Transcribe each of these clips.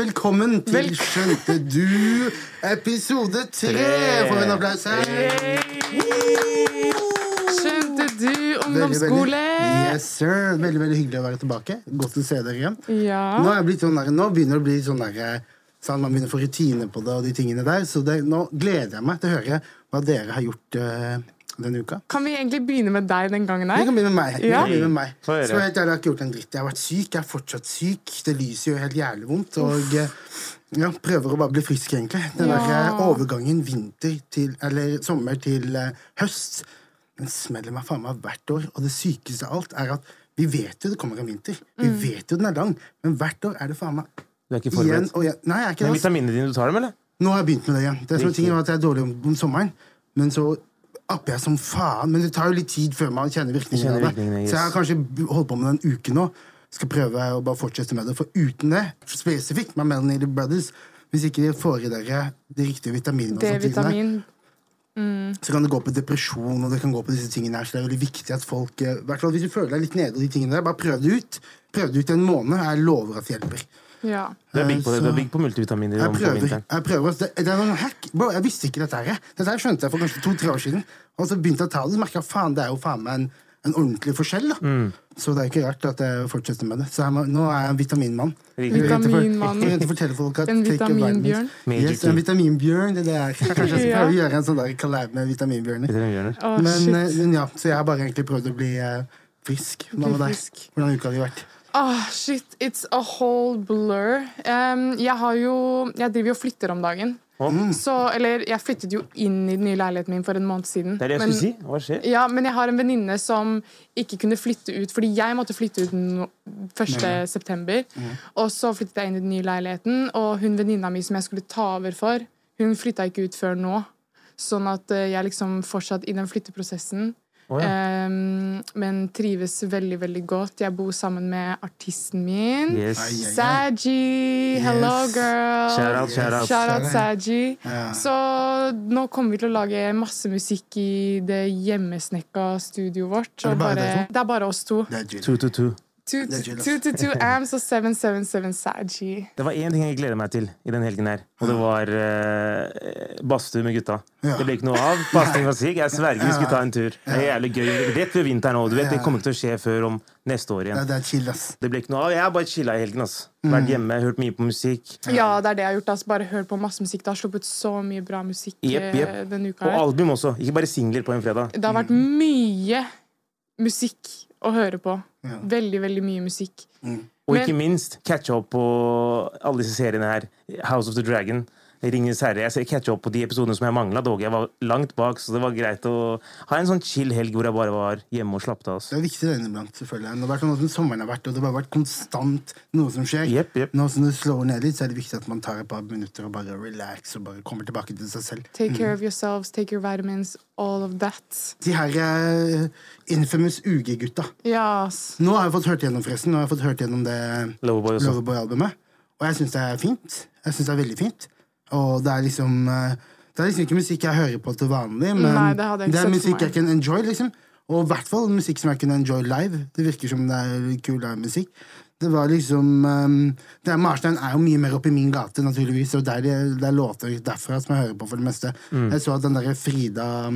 Velkommen til Skjønte du, episode tre! Får vi en applaus her? Skjønte du Veldig, veldig, ungdomsskole? yes, sir. veldig, veldig hyggelig å være tilbake. Godt å se dere igjen. Nå, Ja. er jeg blitt sånn der, nå begynner det å bli sånn der eh, sånn, Man begynner å få rutine på det og de tingene der. Så det, nå gleder jeg meg til å høre hva dere har gjort eh, denne uka. Kan vi egentlig begynne med deg den gangen Det her? kan begynne med meg. Det Ja. kan begynne med meg. Få høre. Så helt ærlig, jeg har ikke gjort en dritt. Jeg har vært syk. Jeg er fortsatt syk. Det lyser jo helt jævlig vondt. Og eh, ja, prøver å bare bli frisk, egentlig. Den Ja. der eh, overgangen vinter til Eller sommer til eh, høst. Den smeller meg faen meg hvert år. Og det sykeste av alt er at vi vet jo det kommer en vinter. Vi Mm. vet jo den er lang. Men hvert år er det faen meg Du er ikke igjen forberedt. og igjen. Nei, jeg er ikke det. Det er ass. vitaminene dine du tar dem, eller? Nå har jeg begynt med det igjen. Det som er tingen var at Jeg er dårlig om, om sommeren, men så apper jeg som faen. Men det tar jo litt tid før man kjenner virkningen Kjenner av det. virkningene, yes. Så jeg har kanskje b- holdt på med det en uke nå. Skal prøve å bare fortsette med det, for uten det, spesifikt med Melanie Brothers Hvis ikke de får i dere de riktige vitaminene, og sånne tingene, D-vitamin. så kan det gå på depresjon og det kan gå på disse tingene her. Så det er veldig viktig at folk eh, hvertfall Hvis du føler deg litt nede, og de tingene der, bare prøv det ut. Prøv det ut en måned. Jeg lover at det hjelper. Ja. Du er big på, det. Du Så- er big på multivitaminer Jeg om på prøver. vinteren. jeg prøver det, det er noen hack. Bro, jeg visste ikke dette her. Dette her skjønte jeg for kanskje to-tre år siden. Og så begynte jeg å ta det, så merket jeg faen, det er jo faen meg en, en ordentlig forskjell. da. Mm. Så det er ikke rart at jeg fortsetter med det. Så jeg må, nå er jeg en vitaminmann. Riktig. Jeg vil egentlig for- Vitaminmann. jeg vil egentlig fortelle folk at take En your vitamins. vitaminbjørn. Magic Yes, en vitaminbjørn. Det er det jeg er. Kanskje jeg skal Ja. prøve å gjøre en sånn der collab med vitaminbjørner. Vitamin gjør det. Å, Men, shit. eh, men ja, Så jeg har bare egentlig prøvd å bli eh, frisk. Hva med deg? frisk. Hvordan uka har det vært? Ah, shit, it's a whole blur. Em, jeg har jo Jeg driver jo og flytter om dagen. Så, eller, jeg flyttet jo inn i den nye leiligheten min for en måned siden. Det er det jeg Men- skulle si. Hva skjer? Ja, men jeg har en venninne som ikke kunne flytte ut, fordi jeg måtte flytte ut no 1. september. Og så flyttet jeg inn i den nye leiligheten, og hun venninna mi som jeg skulle ta over for, hun flytta ikke ut før nå. Sånn at eh, jeg liksom fortsatt i den flytteprosessen. Å, ja. Ehm, men trives veldig, veldig godt. Jeg bor sammen med artisten min. Yes. Ai, ai. Saji! Hello, Yes. girl! Shout out, shout out. Shout out Shout out. Saji. Ja. Så nå kommer vi til å lage masse musikk i det hjemmesnekka studioet vårt. Er det og bare dere det er bare oss to. Det er chill. Two, two, two. Two- det er chill, ass. two to two Amps og 777 Saji. Det var én ting jeg gleder meg til i den helgen her, og det var uh, badstue med gutta. Ja. Det ble ikke noe av. Pasning var syk. Jeg sverger vi skulle ta en tur. Det er jævlig gøy. Rett ved vinteren òg. Det kommer ikke til å skje før om neste år Ja, Mm. igjen. det er chill, ass. Det ble ikke noe av. Jeg har bare chilla i helgen. ass. Vært hjemme, hørt mye på musikk. Ja, det er det jeg har gjort. Altså. Bare hørt på masse musikk. Det har sluppet så mye bra musikk Jepp, jepp. eh, denne uka. Og her. album også. Ikke bare singler på en fredag. Det har vært mye musikk å høre på. Ja. Veldig, veldig mye musikk. Og Men- ikke minst catche opp på alle disse seriene her. House of the Dragon, Ringenes herre. Jeg ser catche opp på de episodene som jeg mangla. Dog jeg var langt bak, så det var greit å ha en sånn chill helg hvor jeg bare var hjemme og slappet av. ass. Det er viktig den iblant, selvfølgelig. Det har vært sånn som sommeren har vært, og det har bare vært konstant noe som skjer. Jepp, jepp. Nå som det slår ned litt, så er det viktig at man tar et par minutter og bare relax og bare kommer tilbake til seg selv. Take care of yourselves, take your vitamins, all of that. De her eh, infamous UG-gutta. Ja, ass. Nå har jeg fått hørt gjennom forresten, nå har jeg fått hørt gjennom det Loverboy også. Loverboy-albumet, og jeg syns det er fint. Jeg synes det er veldig fint. Og det er liksom eh, Det er liksom ikke musikk jeg hører på til vanlig, men Nei, det hadde jeg ikke er sett for musikk meg. jeg kan enjoy, liksom. Og i hvert fall musikk som jeg kunne enjoy live. Det virker som det er kul live musikk. Det var liksom eh, det er, Marstein er jo mye mer oppe i min gate, naturligvis, og det er, det, det er låter derfra som jeg hører på for det meste. Mm. Jeg så at den derre Frida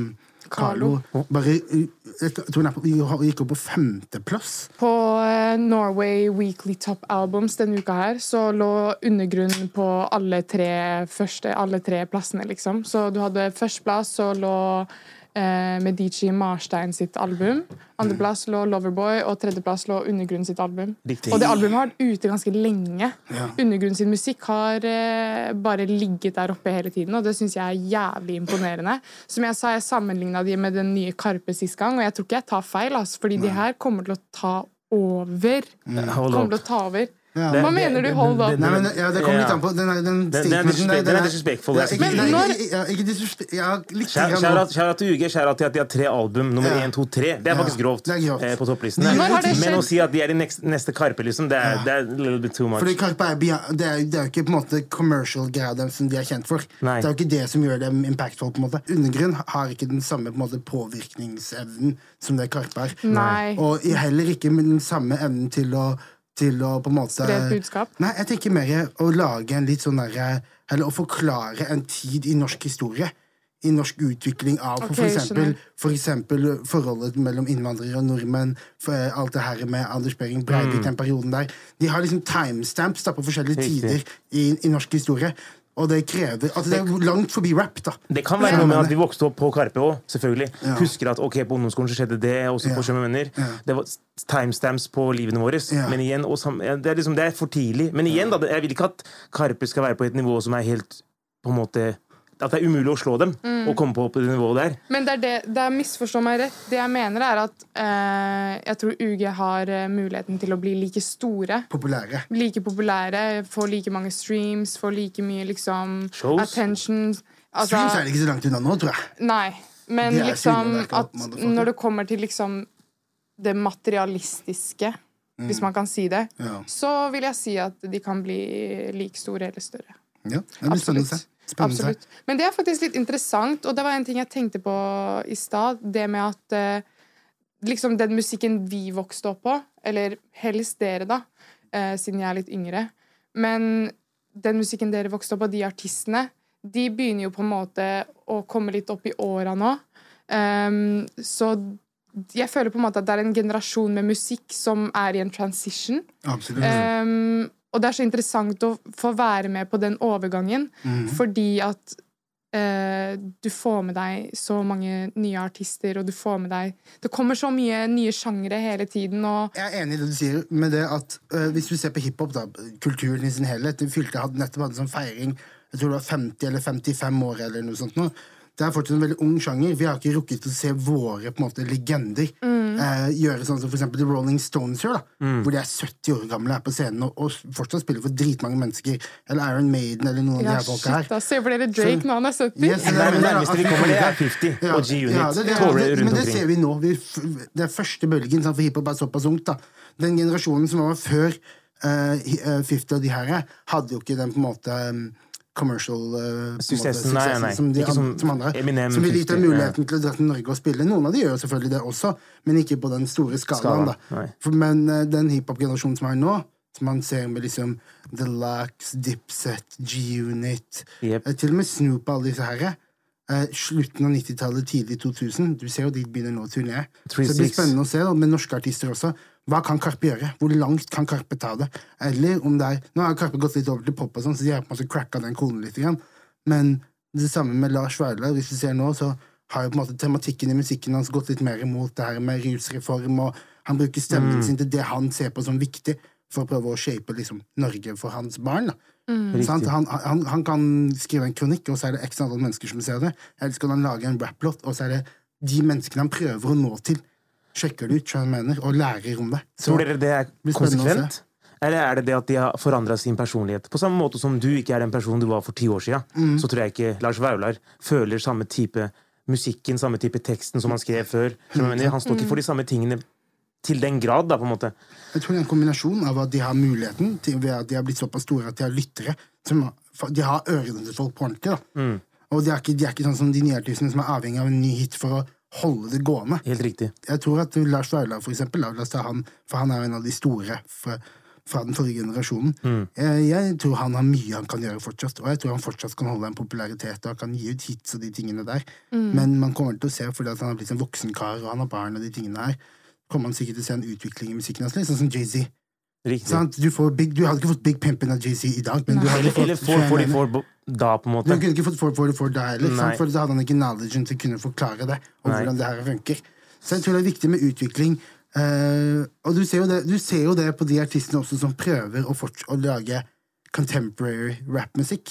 Carlo, Kahlo. bare, eh, jeg tror hun er på, hun gikk opp på femteplass. På eh, Norway Weekly Top Albums denne uka her, så lå undergrunnen på alle tre, første, alle tre plassene, liksom. Så du hadde førsteplass, så lå eh, Medici Marstein sitt album. Andreplass lå Loverboy, og tredjeplass lå Undergrunn sitt album. Riktig. Og det albumet har vært ute ganske lenge. Ja. Undergrunn sin musikk har eh, bare ligget der oppe hele tiden, og det syns jeg er jævlig imponerende. Som jeg sa, jeg sammenligna de med den nye Karpe sist gang, og jeg tror ikke jeg tar feil, altså, fordi de her kommer til å ta over. Mm. Hold Kommer opp. til å ta over. Ja. Det- Hva det- mener du, det- hold det- up? det- Nei, men ja, Det kommer litt an på. Den, er- den, Den- den er statementen disrespe- der, den er disrespectful, det er ikke- sikkert. nei, Men ikke- ja, Ikke disrespect... Ja, litt Skjær grann skjær nå. av skjær av til UG, skjær av til at de har tre album, nummer Ja. én, to, tre. Det er Ja, faktisk grovt, det er grovt. Eh, på topplisten. Når har det Men å skjedd? si at de er i neks- neste Karpe, liksom, det er, det er a little bit too much. Fordi Karpe er, bia- det er, det er jo ikke på en måte commercial-greia dem som de er kjent for. Nei. Det er jo ikke det som gjør dem impactful. på en måte Undergrunn har ikke den samme på en måte påvirkningsevnen som det Karpe er. Nei. Og i- heller ikke med den samme evnen til å, til å på en måte Spre et budskap? Nei, jeg tenker mer å lage en litt sånn derre Eller å forklare en tid i norsk historie. I norsk utvikling av Ok, for, eksempel, skjønner. for eksempel forholdet mellom innvandrere og nordmenn. For eh, alt det her med Anders Behring Mm. Breivik, den perioden der. De har liksom timestamps da, på forskjellige Riktig. tider i, i norsk historie. Og det krever at det er langt forbi rap, da. eh, Det kan være noe med at vi vokste opp på Karpe òg, selvfølgelig. Husker at ok, på ungdomsskolen så skjedde det, også på Ja. Sjømenn Venner. Det var s- timestamps på livene våre. Ja. Men igjen, og sam, ja, det, er liksom, det er for tidlig. Men igjen, da, det- jeg vil ikke at Karpe skal være på et nivå som er helt på en måte At det er umulig å slå dem og komme på, på det nivået der. Men det er det, det er misforstå meg rett. Det jeg mener, er at eh, jeg tror UG har eh, muligheten til å bli like store. Populære. Like populære, få like mange streams, få like mye liksom Shows? attention. Altså, Streams er det ikke så langt unna nå, tror jeg. Nei. Men Det er liksom synet der, at motherfucker. når det kommer til liksom det materialistiske, hvis man kan si det, Mm. Ja. så vil jeg si at de kan bli like store eller større. Ja, det blir spennende å se. Spennende å se. Absolutt. Men det er faktisk litt interessant, og det var en ting jeg tenkte på i stad. Det med at eh, liksom den musikken vi vokste opp på, eller helst dere, da, eh, siden jeg er litt yngre Men den musikken dere vokste opp på, de artistene, de begynner jo på en måte å komme litt opp i åra nå. Ehm, så jeg føler på en måte at det er en generasjon med musikk som er i en transition. Absolutt. Mm. Um, og det er så interessant å få være med på den overgangen, Mm. fordi at eh, du får med deg så mange nye artister, og du får med deg Det kommer så mye nye sjangere hele tiden, og Jeg er enig i det du sier, med det at øh, hvis du ser på hiphop, da, kulturen i sin helhet det Fylket hadde nettopp hadde en sånn feiring Jeg tror det var 50 eller 55 år eller noe sånt nå. Det er fortsatt en veldig ung sjanger. Vi har ikke rukket å se våre på en måte, legender eh, gjøre sånn som for eksempel The Rolling Stones gjør, da. Hvor de er 70 år gamle er på scenen og, og fortsatt spiller for dritmange mennesker. Eller Iron Maiden eller noen av de ja, her folka her. shit, da ser på dere Drake når han er 70. Yes, Det er det mener jeg, nærmeste at vi kommer, det er kan- 50 altså Ja, og G-Unit. ja, det- det er- Tårer rundt Men det omkring. ser vi nå. Vi, f- det er første bølgen sant, for hiphop er såpass ungt. da. Den generasjonen som var før eh, hi- eh, 50 og de her, hadde jo ikke den på en måte um, commercial eh, på en måte, Suksessen, nei, suksessen nei. Som, de, Ikke an- som som andre. Eminem, som ville gitt dem 50, ja. muligheten til å dra til Norge og spille. Noen av de gjør jo selvfølgelig det også, men ikke på den store Skalaen, skalaen. da. nei. For, men eh, den hiphop-generasjonen som er nå, som man ser med liksom The Lax, Dipset, G-Unit Jep. eh, Til og med Snoop og alle disse herre. Eh, slutten av 90-tallet, tidlig 2000. Du ser jo de begynner nå å turnere. Så det blir 36. spennende å se, da, med norske artister også. Hva kan Karpe gjøre? Hvor langt kan Karpe ta det? Eller om det er Nå har Karpe gått litt over til pop, og sånn, så de har på en måte cracka den konen litt. Grann. Men det samme med Lars Vaular. Hvis du ser nå, så har jo på en måte tematikken i musikken hans gått litt mer imot det her med rusreform, og han bruker stemmen sin til det han ser på som viktig, for å prøve å shape liksom, Norge for hans barn. da. Sant? Han, han, han kan skrive en kronikk, og så er det x antall mennesker som ser det. Eller så kan han lage en rapplåt, og så er det de menneskene han prøver å nå til, sjekker det ut, skjønner du hva jeg mener, og lærer om det. Så- Tror dere det er blir spennende å se. konsekvent? Eller er det det at de har forandra sin personlighet? På samme måte som du ikke er den personen du var for ti år siden, Mm. så tror jeg ikke Lars Vaular føler samme type musikken, samme type teksten som han skrev før. Skjønner du hva jeg mener? Han står Mm. ikke for de samme tingene til den grad, da, på en måte. Jeg tror det er en kombinasjon av at de har muligheten, til, ved at de har blitt såpass store at de har lyttere. Som, for de har ørene til folk på ordentlig. Da. Mm. Og de er, ikke, de er ikke sånn som de nye artistene som er avhengig av en ny hit for å holde det gående. Helt riktig. Jeg tror at Lars Vaular, for eksempel, da, la oss ta han, for han er en av de store fra, fra den forrige generasjonen. Eh, Jeg tror han har mye han kan gjøre fortsatt, og jeg tror han fortsatt kan holde en popularitet og kan gi ut hits og de tingene der. Men man kommer til å se, fordi at han har blitt en voksen kar og han har barn og de tingene her, kommer man sikkert til å se en utvikling i musikken hans, litt sånn som Jay-Z. riktig. Sant? Du, får big, du hadde ikke fått Big Pimpin' av JC i dag, men du hadde Eller, fått eller får, får de Skjønner får da, på en Du måte. kunne ikke fått 444 da heller, Nei. sant? for da hadde han ikke knowledgen til å kunne forklare det. Og Nei. hvordan det her funker Så jeg tror det er viktig med utvikling. eh, og du ser, jo det, du ser jo det på de artistene også som prøver å, forts- å lage contemporary rapmusikk.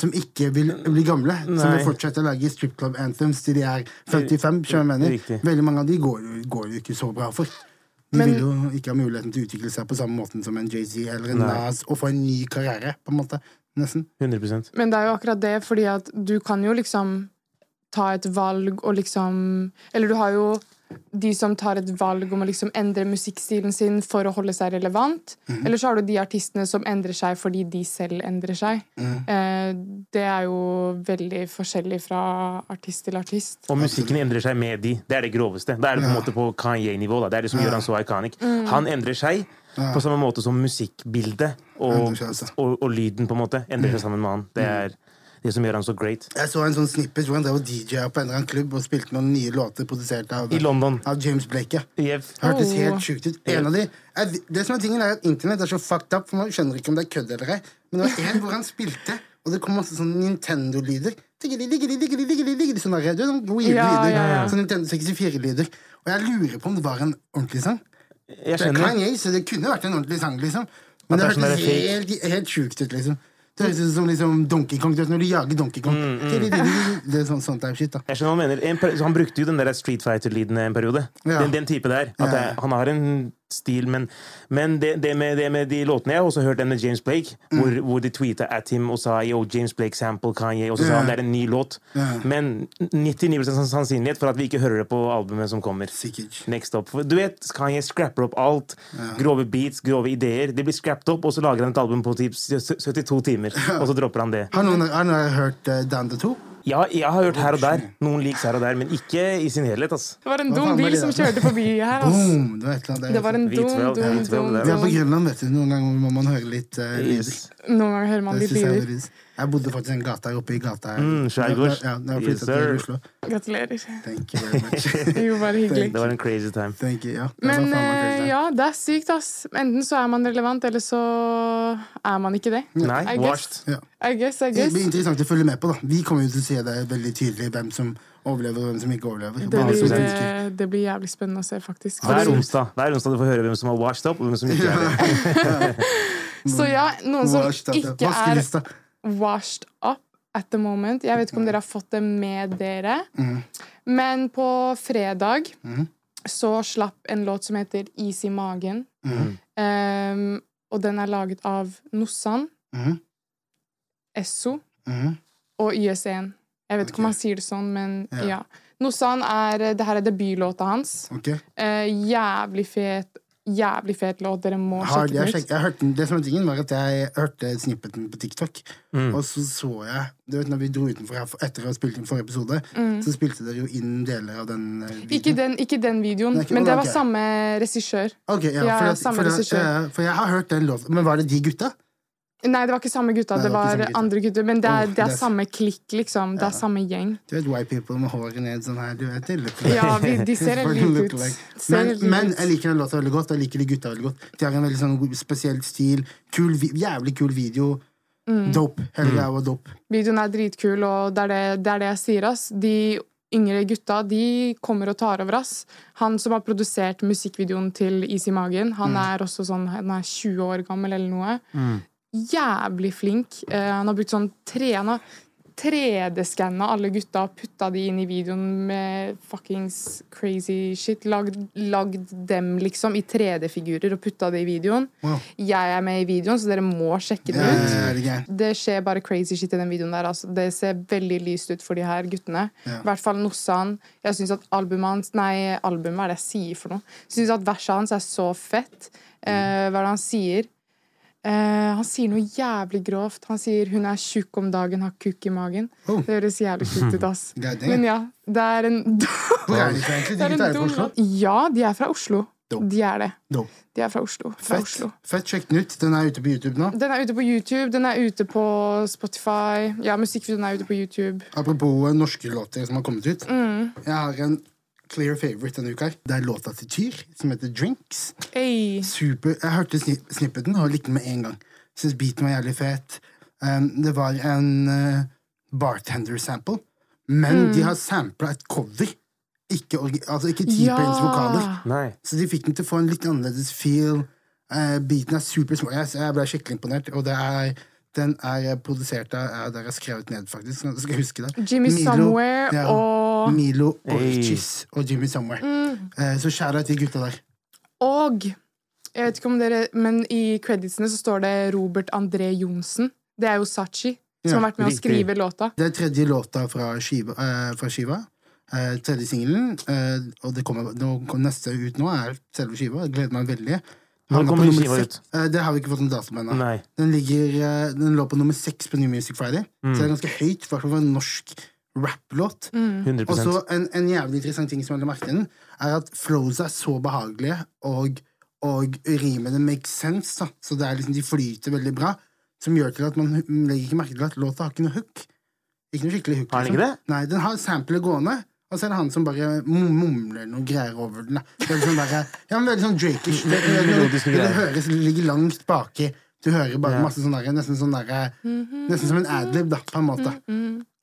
Som ikke vil bli gamle. Som Nei. vil fortsette å lage stripclub anthems til de er 55. skjønner du hva jeg mener. Riktig. Veldig mange av de går, jo- går jo ikke så bra for. De Men- vil jo ikke ha muligheten til å utvikle seg på samme måten som en Jay-Z eller en Nei. Nas og få en ny karriere, på en måte. Nesten. 100 Men det er jo akkurat det, fordi at du kan jo liksom ta et valg og liksom Eller du har jo de som tar et valg om å liksom endre musikkstilen sin for å holde seg relevant. Mhm. Eller så har du de artistene som endrer seg fordi de selv endrer seg. Mhm. Eh, det er jo veldig forskjellig fra artist til artist. Og musikken endrer seg med de. Det er det groveste. Da er det på en måte på Kanye-nivå. da. Det er det som gjør han så iconic. Han endrer seg på samme måte som musikkbildet og, Endrer seg, altså. Mm. og, og lyden på en måte endrer seg sammen med han. Det er det som gjør han så great. Jeg så en sånn snippet hvor han drev og DJ-a på en eller annen klubb og spilte noen nye låter produsert av, I London. av James Blake. ja. Jev. Hørtes Oh. helt sjukt ut. En av de, jeg, vet- det som er tingen er at Internett er så fucked up, for man skjønner ikke om det er kødd eller ei. Men det var en hvor han spilte, og det kom masse sånne Nintendo-lyder. Tiggeri, tiggeri, tiggeri, tiggeri, tiggeri, Sånne der, du, sånne gode Ja, lyder. ja, ja. Sånn Nintendo 64-lyder. Og jeg lurer på om det var en ordentlig sang. Jeg Det er skjønner. Kanye, så det kunne vært en ordentlig sang, liksom. Men At det det er sånn hørtes der fake. helt, helt sjukt ut, liksom. Det høres ut som liksom Donkey Kong, du vet når du jager Donkey Kong. Mm, Det er sånn, sånn type shit, da. Jeg skjønner hva han mener. En per- så han brukte jo den der Street Fighter-lyden en periode. Ja. Den, den type der. At det, er- han har en stil, men, men det, det, med, det med de låtene Jeg har også hørt den med James Blake, Mm. hvor, hvor de tweeta at him og sa yo, James Blake sample Kanye, og så sa han det er en ny låt. Men 99 sann- sannsynlighet for at vi ikke hører det på albumet som kommer. Sikkert. Next up. For Du vet, Kanye scrapper opp alt. Grove beats, grove ideer. De blir scrapped opp, og så lager han et album på typ 72 timer, og så dropper han det. Har noen, har noen hørt eh, Dan the Two? Ja, jeg har hørt her og der. Noen leaks her og der, men ikke i sin helhet. ass. Det var en Hva faen dum var bil det som da? kjørte forbi her. ass. Boom! Det var et eller annet der. Det var en Vi dum, dum, twelve, vi twelve dum, der. Vi er på dum. Grønland, vet du. Noen ganger må man høre litt uh, lyder. Yes. Noen ganger hører man de Det synes jeg er lyder. veldig- Jeg bodde faktisk i en gata her oppe i gata her. Mm, skjærgårds. Ja, da jeg Yes, flyttet til sir. Oslo. Gratulerer. Thank you very much. Jo, bare hyggelig. Det var en crazy time. Thank you, ja. Det var Men faen meg crazy, eh, da. ja, det er sykt, ass. Enten så er man relevant, eller så er man ikke det. Nei, I guess. washed. Ja. I guess, I Det guess. blir interessant å følge med på. da Vi kommer jo til å se det veldig tydelig hvem som overlever og hvem som ikke overlever. Det Bare blir, som mennesker. eh, det blir jævlig spennende å se, faktisk. Hver Fordi- onsdag Hver onsdag du får høre hvem som har washed up, og hvem som ikke er det. Så ja, noen som Washed up, ja. ikke er Vaskelista. washed up at the moment. Jeg vet ikke om dere har fått det med dere, Mm, men på fredag så slapp en låt som heter Is i magen. Mm. Um, og den er laget av Nossan, Mhm. Esso Mhm. og YS1. Jeg vet ikke om han sier det sånn, men Ja. ja. Nossan er eh, Det her er debutlåta hans. Ok. Eh, jævlig fet Jævlig fet låt. Dere må Har, sjekke jeg den ut. sjekket, jeg hørte, den- det som var tingen, var at jeg hørte snippeten på TikTok, og så så jeg du vet, Når vi dro utenfor her for- etter å ha spilt inn forrige episode, så spilte dere jo inn deler av den eh, videoen. Mm. Ikke den, ikke den videoen, Nei, ikke- men det ok. var samme regissør. Ok, ja, Ja, for, at, samme for, at, regissør. eh, for jeg har hørt den låten. Men var det de gutta? Nei, det var ikke samme gutta, Nei, det var ikke samme gutta. andre gutter. Men det Åh, er, det det er er- samme klikk, liksom. Det er samme gjeng. Du vet white people med håret ned sånn her. Du vet, de look like- Ja, vi, de ser helt Fucking like look ut. like. Ser Men, helt like men ut. jeg liker den låta veldig godt. Jeg liker de gutta veldig godt. De har en veldig sånn god- spesiell stil. Kul, vi- jævlig kul video. Mm. Dope. Hele greia var dope. Videoen er dritkul, og det er det, det er det jeg sier, ass. De yngre gutta de kommer og tar over, ass. Han som har produsert musikkvideoen til Is i magen, han er også sånn han er 20 år gammel eller noe. Jævlig flink. Eh, han har brukt sånn tre, han har 3D-skanna alle gutta og putta de inn i videoen med fuckings crazy shit. Lagd, lagd dem liksom i 3D-figurer og putta det i videoen. Wow. Jeg er med i videoen, så dere må sjekke det Ja, ja, ut. ja, det er gøy. Det skjer bare crazy shit i den videoen der. Altså. Det ser veldig lyst ut for de her guttene. I hvert fall Nossan. Jeg syns at albumet hans Nei, albumet er det jeg sier for noe. Jeg syns at verset hans er så fett. Mm. Eh, hva er det han sier? Eh, han sier noe jævlig grovt. Han sier 'hun er tjukk om dagen, har kukk i magen'. Oh. Det høres jævlig sjukt ut, ass. Ja, det- Men ja, det er en Hvor er de fra egentlig? Det De er en gutta er fra dum Oslo? låt. Ja, de er fra Oslo. Dope. De er det. Dope. De er fra Oslo. Fra Fett. Oslo. Fett. Sjekk den ut. Den er ute på YouTube nå. Den er ute på YouTube, den er ute på Spotify. Ja, musikkvideoen er ute på YouTube. Apropos eh, norske låter som har kommet ut. Mm. Jeg har en clear favorite denne uka. her. Det er låta til Tyr, som heter Drinks. Ey. super Jeg hørte sni snippeten og likte den med en gang. Syns beaten var jævlig fet. Um, det var en eh, bartender-sample, men Mm. de har sampla et cover. Ikke, orgi- altså ikke T-Pains Ja. vokaler. Nei. Så de fikk den til å få en litt annerledes feel. Eh, beaten er supersmart. Jeg, jeg ble skikkelig imponert. Og det er, den er produsert av ja, Der er skrevet ned, faktisk. Nå Skal jeg huske det. Jimmy Somewhere og- Mm. Milo Orchis og Jimmy Somewhere. Eh, så skjæra til gutta der. Og jeg vet ikke om dere, men i creditsene så står det Robert André Johnsen. Det er jo Sachi som Ja, har vært med å riktig. skrive låta. Det er tredje låta fra skiva. eh, fra skiva. Eh, tredje singelen. eh, og det kommer, nå, kom- neste ut nå er selve skiva. Jeg gleder meg veldig. Når Han er på kommer nummer skiva seks. ut? Eh, det har vi ikke fått noen dato på ennå. Nei. Den, ligger, eh, den lå på nummer seks på New Music Friday, Mm. så det er ganske høyt. I hvert fall for en norsk rapplåt. 100 Og så en, en jævlig interessant ting som jeg la merke til, den, er at flows er så behagelige, og, og rimene makes sense. Da. Så det er liksom, de flyter veldig bra, som gjør til at man hu- legger ikke merke til at låta har ikke noe hook. Ikke noe skikkelig hook. liksom. Har den ikke det? Nei, den har samplet gående. Og så er det han som bare mum- mumler noe greier over den. da. Det er sånn der, ja, men veldig sånn Drake-ish. Det, det, det, det, Melodiske greier. høres det ligger langt baki. Du hører bare Ja. masse sånn der, nesten sånn der, Nesten som en adlib, da, på en måte.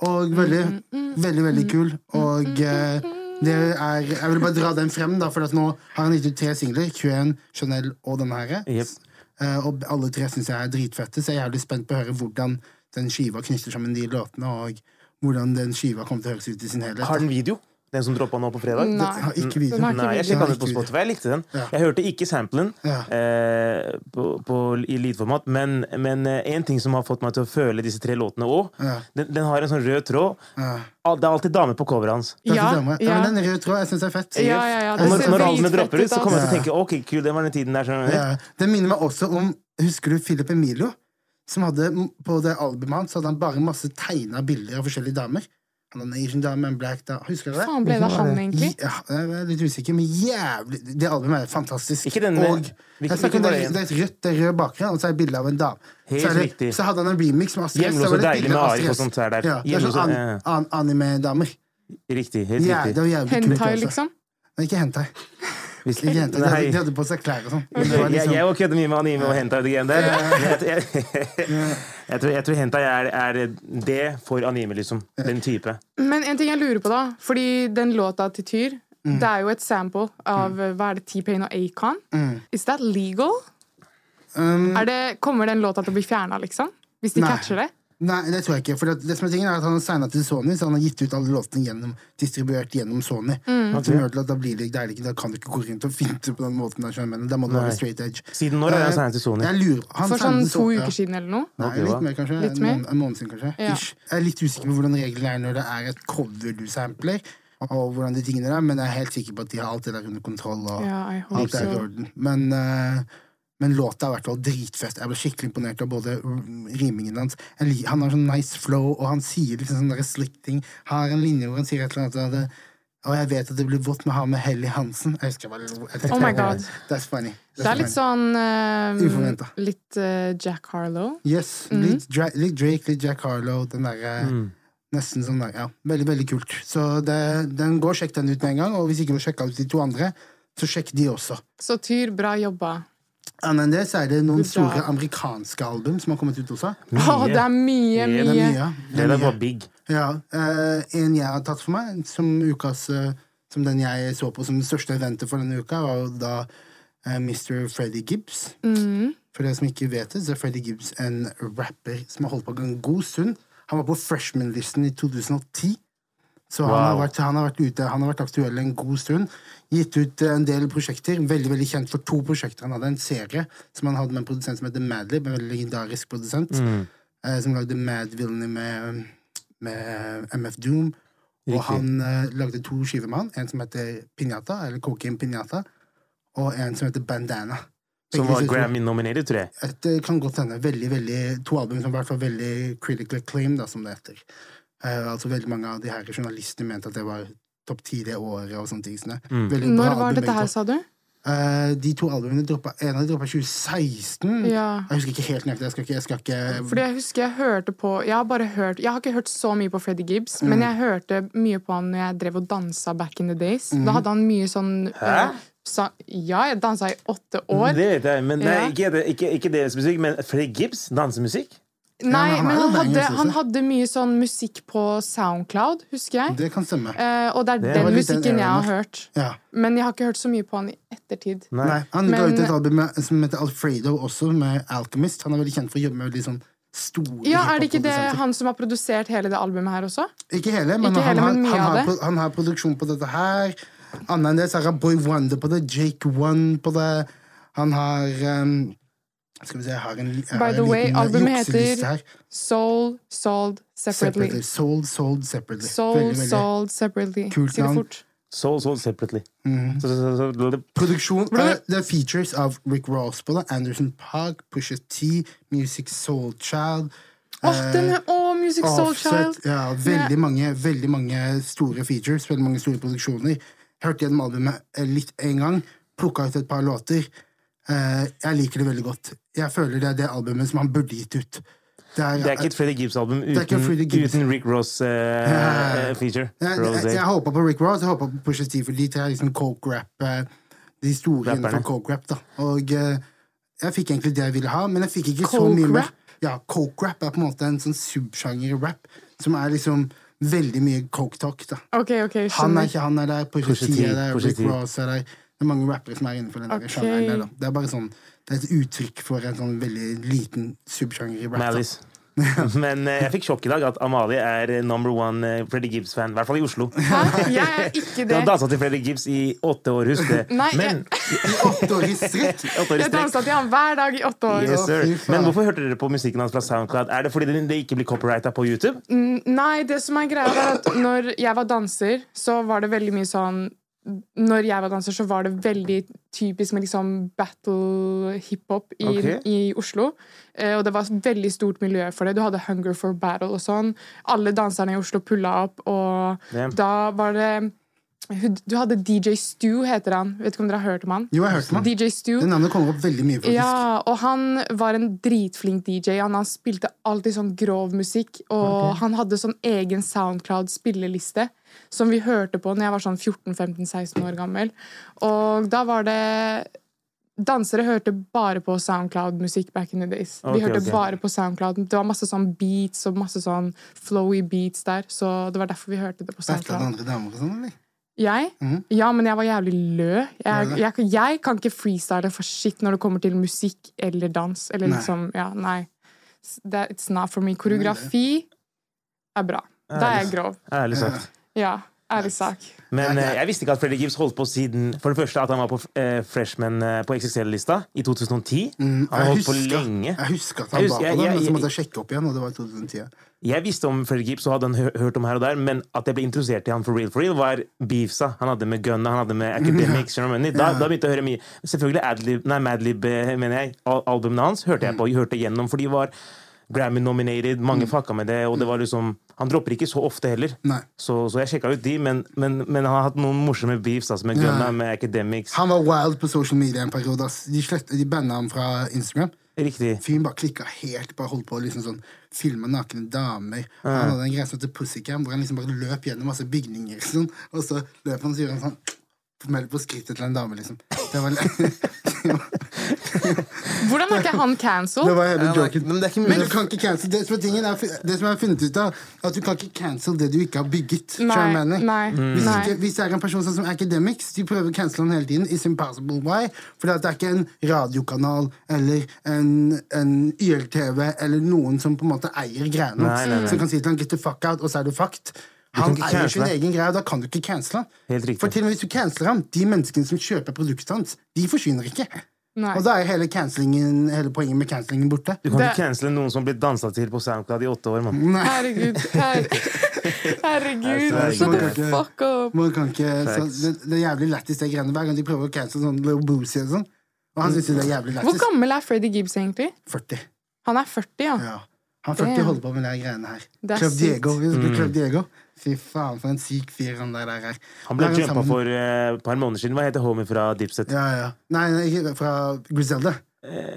Og veldig, Mm, veldig, veldig kul. Og eh, det er Jeg vil bare dra den frem, da, for at nå har han gitt ut tre singler. 21, Chanel og denne her. Jep. Eh, og alle tre syns jeg er dritfette, så jeg er jævlig spent på å høre hvordan den skiva knytter sammen de låtene, og hvordan den skiva kommer til å høres ut i sin helhet. Har den video? Den som droppa nå på fredag? Nei. Jeg har ikke video. Den har ikke Nei, jeg video. sjekka den Ikke på video. Spotify. Jeg likte den. Ja. Jeg hørte ikke samplen Ja. eh, på, på, i lydformat, men, men eh, en ting som har fått meg til å føle disse tre låtene òg, Ja. den, den har en sånn rød tråd. Ah, Det er alltid damer på coveret hans. Takk for Ja, damer. ja, ja. men Den røde tråd jeg syns er fett. Ja, ja, ja, Og det når, ser når dritfett albumene dropper ut, så kommer jeg altså. til å tenke ok, kul, det var den tiden der. skjønner du? Ja. Eh, Det minner meg også om Husker du Philip Emilio? Som hadde, på det albumet hans så hadde han bare masse tegna bilder av forskjellige damer. Han hadde en Asian dame, en black dame Husker du det? Faen, ble det han, egentlig? Ja, jeg er litt usikker, men jævlig Det albumet er fantastisk. Ikke den- og jeg hvilken- snakker om det, hvilken var det igjen? det er et rødt, det er rød bakgrunn, og så er det bilde av en dame. Helt så, er det, riktig. så hadde han en remix med Astrid S. Hjemløs så var og det et deilig bilde av med Astrid Arif og S. sånt er der. Ja, det er Hjemløs sånn og- an, ja, ja. an, anime-damer. Riktig. Helt Ja, det riktig. var jævlig kult. Hentai, altså. liksom. Nei, ikke hentai. Hvis- Ikke hentai. De, Nei. hadde, de hadde på seg klær og sånn. Men det var Jeg, liksom- jeg var kødde mye med anime og hentai. og det greiene der. Jeg, jeg, jeg, tror, jeg tror hentai er, er det for anime, liksom. Den type. Men en ting jeg lurer på, da. Fordi den låta til Tyr, Mm. det er jo et sample av eh, hva er det, T-Pain og Acon. Mm. Is that legal? er det, kommer den låta til å bli fjerna, liksom? Hvis de Um, Nei. catcher det? Nei, det tror jeg ikke. For det, det som er tingen er at Han har signa til Sony, så han har gitt ut alle låtene gjennom, distribuert gjennom Sony. Mm. Som gjør til at Da blir det deilig, da kan du ikke gå rundt og finte på den måten. Der, skjønner du, men da må du Nei. være straight edge. Siden når har han Eh, signet til Sony? Jeg lurer, han For sånn signet til to Sony- ja. uker siden eller noe? Nei, Ok, hva? litt mer, kanskje. Litt En mer? måned- En måned siden, kanskje. Ja. Ish. Jeg er litt usikker på hvordan reglene er når det er et cover du sampler, og hvordan de tingene der, men jeg er helt sikker på at de har alt det der under kontroll. Og, Ja, I hope Alt er i so. orden. Men, eh, men låta er i hvert fall dritfett. Jeg ble skikkelig imponert av både mm, rimingen hans. Jeg lik- Han har sånn nice flow, og han sier liksom sånne der slick ting. Har en linje hvor han sier et eller annet sånn at det- Og jeg vet at det blir vått med å ha med Helly Hansen. Jeg husker jeg bare lo. Jeg tenkte, Oh my God. That's funny. Det er litt sånn eh, Uforventet. Litt eh, Jack Harlow. Yes, litt, Dra litt Drake, litt Jack Harlow, den derre Mm. Nesten sånn der, ja. Veldig, veldig kult. Så det, den går, sjekk den ut med en gang. Og hvis ikke du har sjekka ut de to andre, så sjekk de også. Så Tyr, bra jobba. Annet enn det, så er det noen Good job. store amerikanske album som har kommet ut også. Å, det er mye, Det er mye. Det er mye. Det der var big. Ja, eh, en jeg har tatt for meg, som ukas eh, Som den jeg så på som det største eventet for denne uka, var jo da eh, Mr. Freddy Gibbs. For dere som ikke vet det, så er Freddy Gibbs en rapper som har holdt på en god stund. Han var på freshman-listen i 2010. Så han, har vært, han, har vært ute, han har vært aktuell en god stund. Gitt ut eh, en del prosjekter. Veldig veldig kjent for to prosjekter. Han hadde en serie som han hadde med en produsent som heter Madlib, en veldig legendarisk produsent, Mm. eh, som lagde Mad Villainy med, med MF Doom. Og han eh, lagde to skiver med han. En som heter Pinjata, eller Cocaine Pinjata, og en som heter Bandana. Som Begge var disse to- Grammy-nominert, tror jeg. et, det kan godt hende. Veldig, veldig, to album som i hvert fall veldig critical acclaim, da, som det heter. Eh, altså Veldig mange av de her journalistene mente at det var topp ti det året. og sånne ting. sånn det. Veldig bra Når album, var begge dette her, to. sa du? Eh, de to albumene droppa En av dem droppa 2016. Ja. Jeg husker ikke helt nøyaktig. Jeg skal ikke, jeg skal ikke Fordi jeg husker jeg hørte på Jeg har bare hørt Jeg har ikke hørt så mye på Freddie Gibbs, Mm. men jeg hørte mye på han når jeg drev og dansa back in the days. Mm. Da hadde han mye sånn Hæ? eh, sa, Ja, jeg dansa i åtte år. Det vet jeg, men nei, Ja. ikke, det- ikke, ikke deres musikk, men Freddy Gibbs dansemusikk. Nei, Ja, men han men er jo han hadde, bangers også. han hadde mye sånn musikk på Soundcloud, husker jeg. Det kan stemme. Eh, og det er var den litt den musikken jeg eraen, har hørt. ja. Men jeg har ikke hørt så mye på han i ettertid. Nei. Nei, han ga Men- ut et album med, som heter Alfredo, også med Alchemist. Han er veldig kjent for å jobbe med veldig sånn store Ja, Er det ikke det hiphop-produsenter. han som har produsert hele det albumet her også? Ikke hele, men, Ikke han, hele, har, men mye han, av har, det. pro- han har produksjon på dette her. Annet enn det så har han Boy Wonder på det, Jake One på det. Han har ehm, Skal vi se, jeg har en, jeg har By en the way, liten, eh, albumet jukseliste heter her. Sold, Sold Separately. Separately. Sold, sold separately. Sold, Veldig, veldig. Sold Separately. Kult Si det navn. fort. Sold, sold separately. Mhm. Så, så, så, så, det- Produksjon eh, Det er features av Rick Ross på det, Anderson Park, Pusha T, Music Soul Child Åh, den er Åh, Music Soul Child! Eh, Offset, ja, veldig, mange, veldig mange store features, veldig mange store produksjoner. Hørte gjennom albumet eh, litt en gang, plukka ut et par låter. Eh, jeg liker det veldig godt. Jeg føler det er det albumet som han burde gitt ut. Det er, det er ikke et Freddy Gibbs-album er ikke uten, et Freddie Gibbs. uten Rick Ross eh, eh, feature. jeg, jeg, Rose. jeg, håpa på Rick Ross, jeg håpa på Pusha T, for de tre er liksom coke-rap. eh, De store Rapperne. innenfor coke-rap, da. Og eh, jeg fikk egentlig det jeg ville ha, men jeg fikk ikke så Coke mye mer. rap? Ja, coke-rap er på en måte en sånn subsjanger i rap som er liksom veldig mye coke-talk, da. OK, OK, Han er skjønner. ikke han er der, Pusha T Pusha T, er der, Pusha Rick T. Ross er der. Det er mange rappere som er innenfor den Ok. okay. sjangeren der, da. Det er bare sånn Det er et uttrykk for en sånn veldig liten subsjanger i rap. da. Malice. Men eh, jeg fikk sjokk i dag at Amalie er eh, number one eh, Freddy Gibbs-fan. I hvert fall i Oslo. Hæ? Jeg er ikke Du har det. dansa til Freddy Gibbs i åtte år, husk det. Nei, Men, Åtte år i strekk! åtte år i Jeg dansa strekk. til han hver dag i åtte år. Yes, sir. Å, fy faen. Men hvorfor hørte dere på musikken hans fra SoundCloud? Er det fordi det- det ikke blir copyrighta på YouTube? Nei, det som er greia er at når jeg var danser, så var det veldig mye sånn Når jeg var danser, så var det veldig typisk med liksom battle hiphop i, Ok. i Oslo. Eh, og det var et veldig stort miljø for det. Du hadde Hunger for battle og sånn. Alle danserne i Oslo pulla opp, og Damn. da var det Du hadde DJ Stu, heter han. Vet ikke om dere har hørt om han? Jo, jeg hørte meg. DJ Stu. Det navnet kommer opp veldig mye, faktisk. Ja, og han var en dritflink DJ. Han, han spilte alltid sånn grov musikk, og han hadde sånn egen Soundcloud-spilleliste. Som vi hørte på når jeg var sånn 14-15-16 år gammel. Og da var det Dansere hørte bare på Soundcloud-musikk back in the days. De Ok, hørte ok. bare på Soundcloud. Det var masse sånn beats og masse sånn flowy beats der, så det var derfor vi hørte det på Battla Soundcloud. andre damer og sånn, eller? Jeg? Mhm. Ja, men jeg var jævlig lø. Jeg, jeg, jeg kan ikke freestyle for shit når det kommer til musikk eller dans. Eller Nei. liksom, ja, nei. S- That, it's not for me. Koreografi er bra. Da er jeg grov. Ærlig sagt. Ja, ærlig sak. Men eh, jeg visste ikke at Freddy Gibbs holdt på siden For det første at han var på eh, freshman eh, på XXL-lista i 2010. Han Mm, Jeg har holdt på husker- lenge. Jeg husker at Jeg han husker- var jeg- på det, jeg- men så måtte jeg- jeg sjekke opp igjen, og det var i 2010. Jeg visste om Freddy Gibbs og hadde han hø- hørt om her og der, men at jeg ble introdusert til han for real for real, var beefsa han hadde med Gunna, han hadde med Academics. skjønner du hva jeg mener? Da, da begynte jeg å høre mye. Selvfølgelig Adlib, nei, Madlib, eh, mener jeg. al- Albumene hans hørte jeg på, Mm. jeg hørte gjennom, for de var Grammy-nominated, mange fucka med det, og det var liksom Han dropper ikke så ofte heller. Mm. Nei. Så, så jeg sjekka ut de, men, men, men han har hatt noen morsomme beefs altså, med Gunna, med Academics. Han var wild på social media en periode. ass. De, slett- de banna ham fra Instagram. Riktig. Fyren bare klikka helt, bare holdt på å liksom sånn filme nakne damer. Han hadde en greie som heter Pussycam, hvor han liksom bare løp gjennom masse bygninger, sånn, og så løp han og så gjorde han sånn Meld på skrittet til en dame, liksom. Det var, Hvordan er ikke han det cancelled? var hele men det er ikke- joken. men det er ikke mulig. du kan ikke cancel Det som er tingen er, det som jeg har funnet ut av, er at du kan ikke cancel det du ikke har bygget. Nei, skjønner du hva jeg mener? nei, Mm. hvis, nei. ikke, hvis det er en person sånn som Academics, de prøver å cancele han hele tiden. It's impossible why. For det er ikke en radiokanal eller en, en YLTV eller noen som på en måte eier greiene Nei, nei, nei. hans. Som kan si til han get the fuck out, og så er du fucked. kan Han ikke eier sin cancele. egen greie, og da kan du ikke cancele han. Helt riktig. For til og med hvis du canceler ham, de menneskene som kjøper produktet hans, de forsvinner ikke. Nei. Og da er hele, cancellingen- hele poenget med cancellingen borte. Du kan Det- ikke cancele noen som blir dansa til på SoundCloud i åtte år, mann. Herregud. Her, herregud. Nei, Shut herregud. the fuck up. Man kan ikke, så Facts. det, det er jævlig lættis, det greiene. Hver gang de prøver å cancele sånn Lil Boozy og sånn. Og han syns jo det er jævlig Hvor lættis. gammel er Freddy Gibbs egentlig? 40. Han er 40, ja. Ja. Han 40 Damn. holder på med de greiene her. Det er Club sykt. Diego. Hvis du Mm. Club Diego. Fy faen, for en syk fyr han der er. Han ble Der er jumpa sammen- for eh, et par måneder siden. Hva heter homie fra Dipset? Ja, ja. Nei, nei, ikke fra Griselda.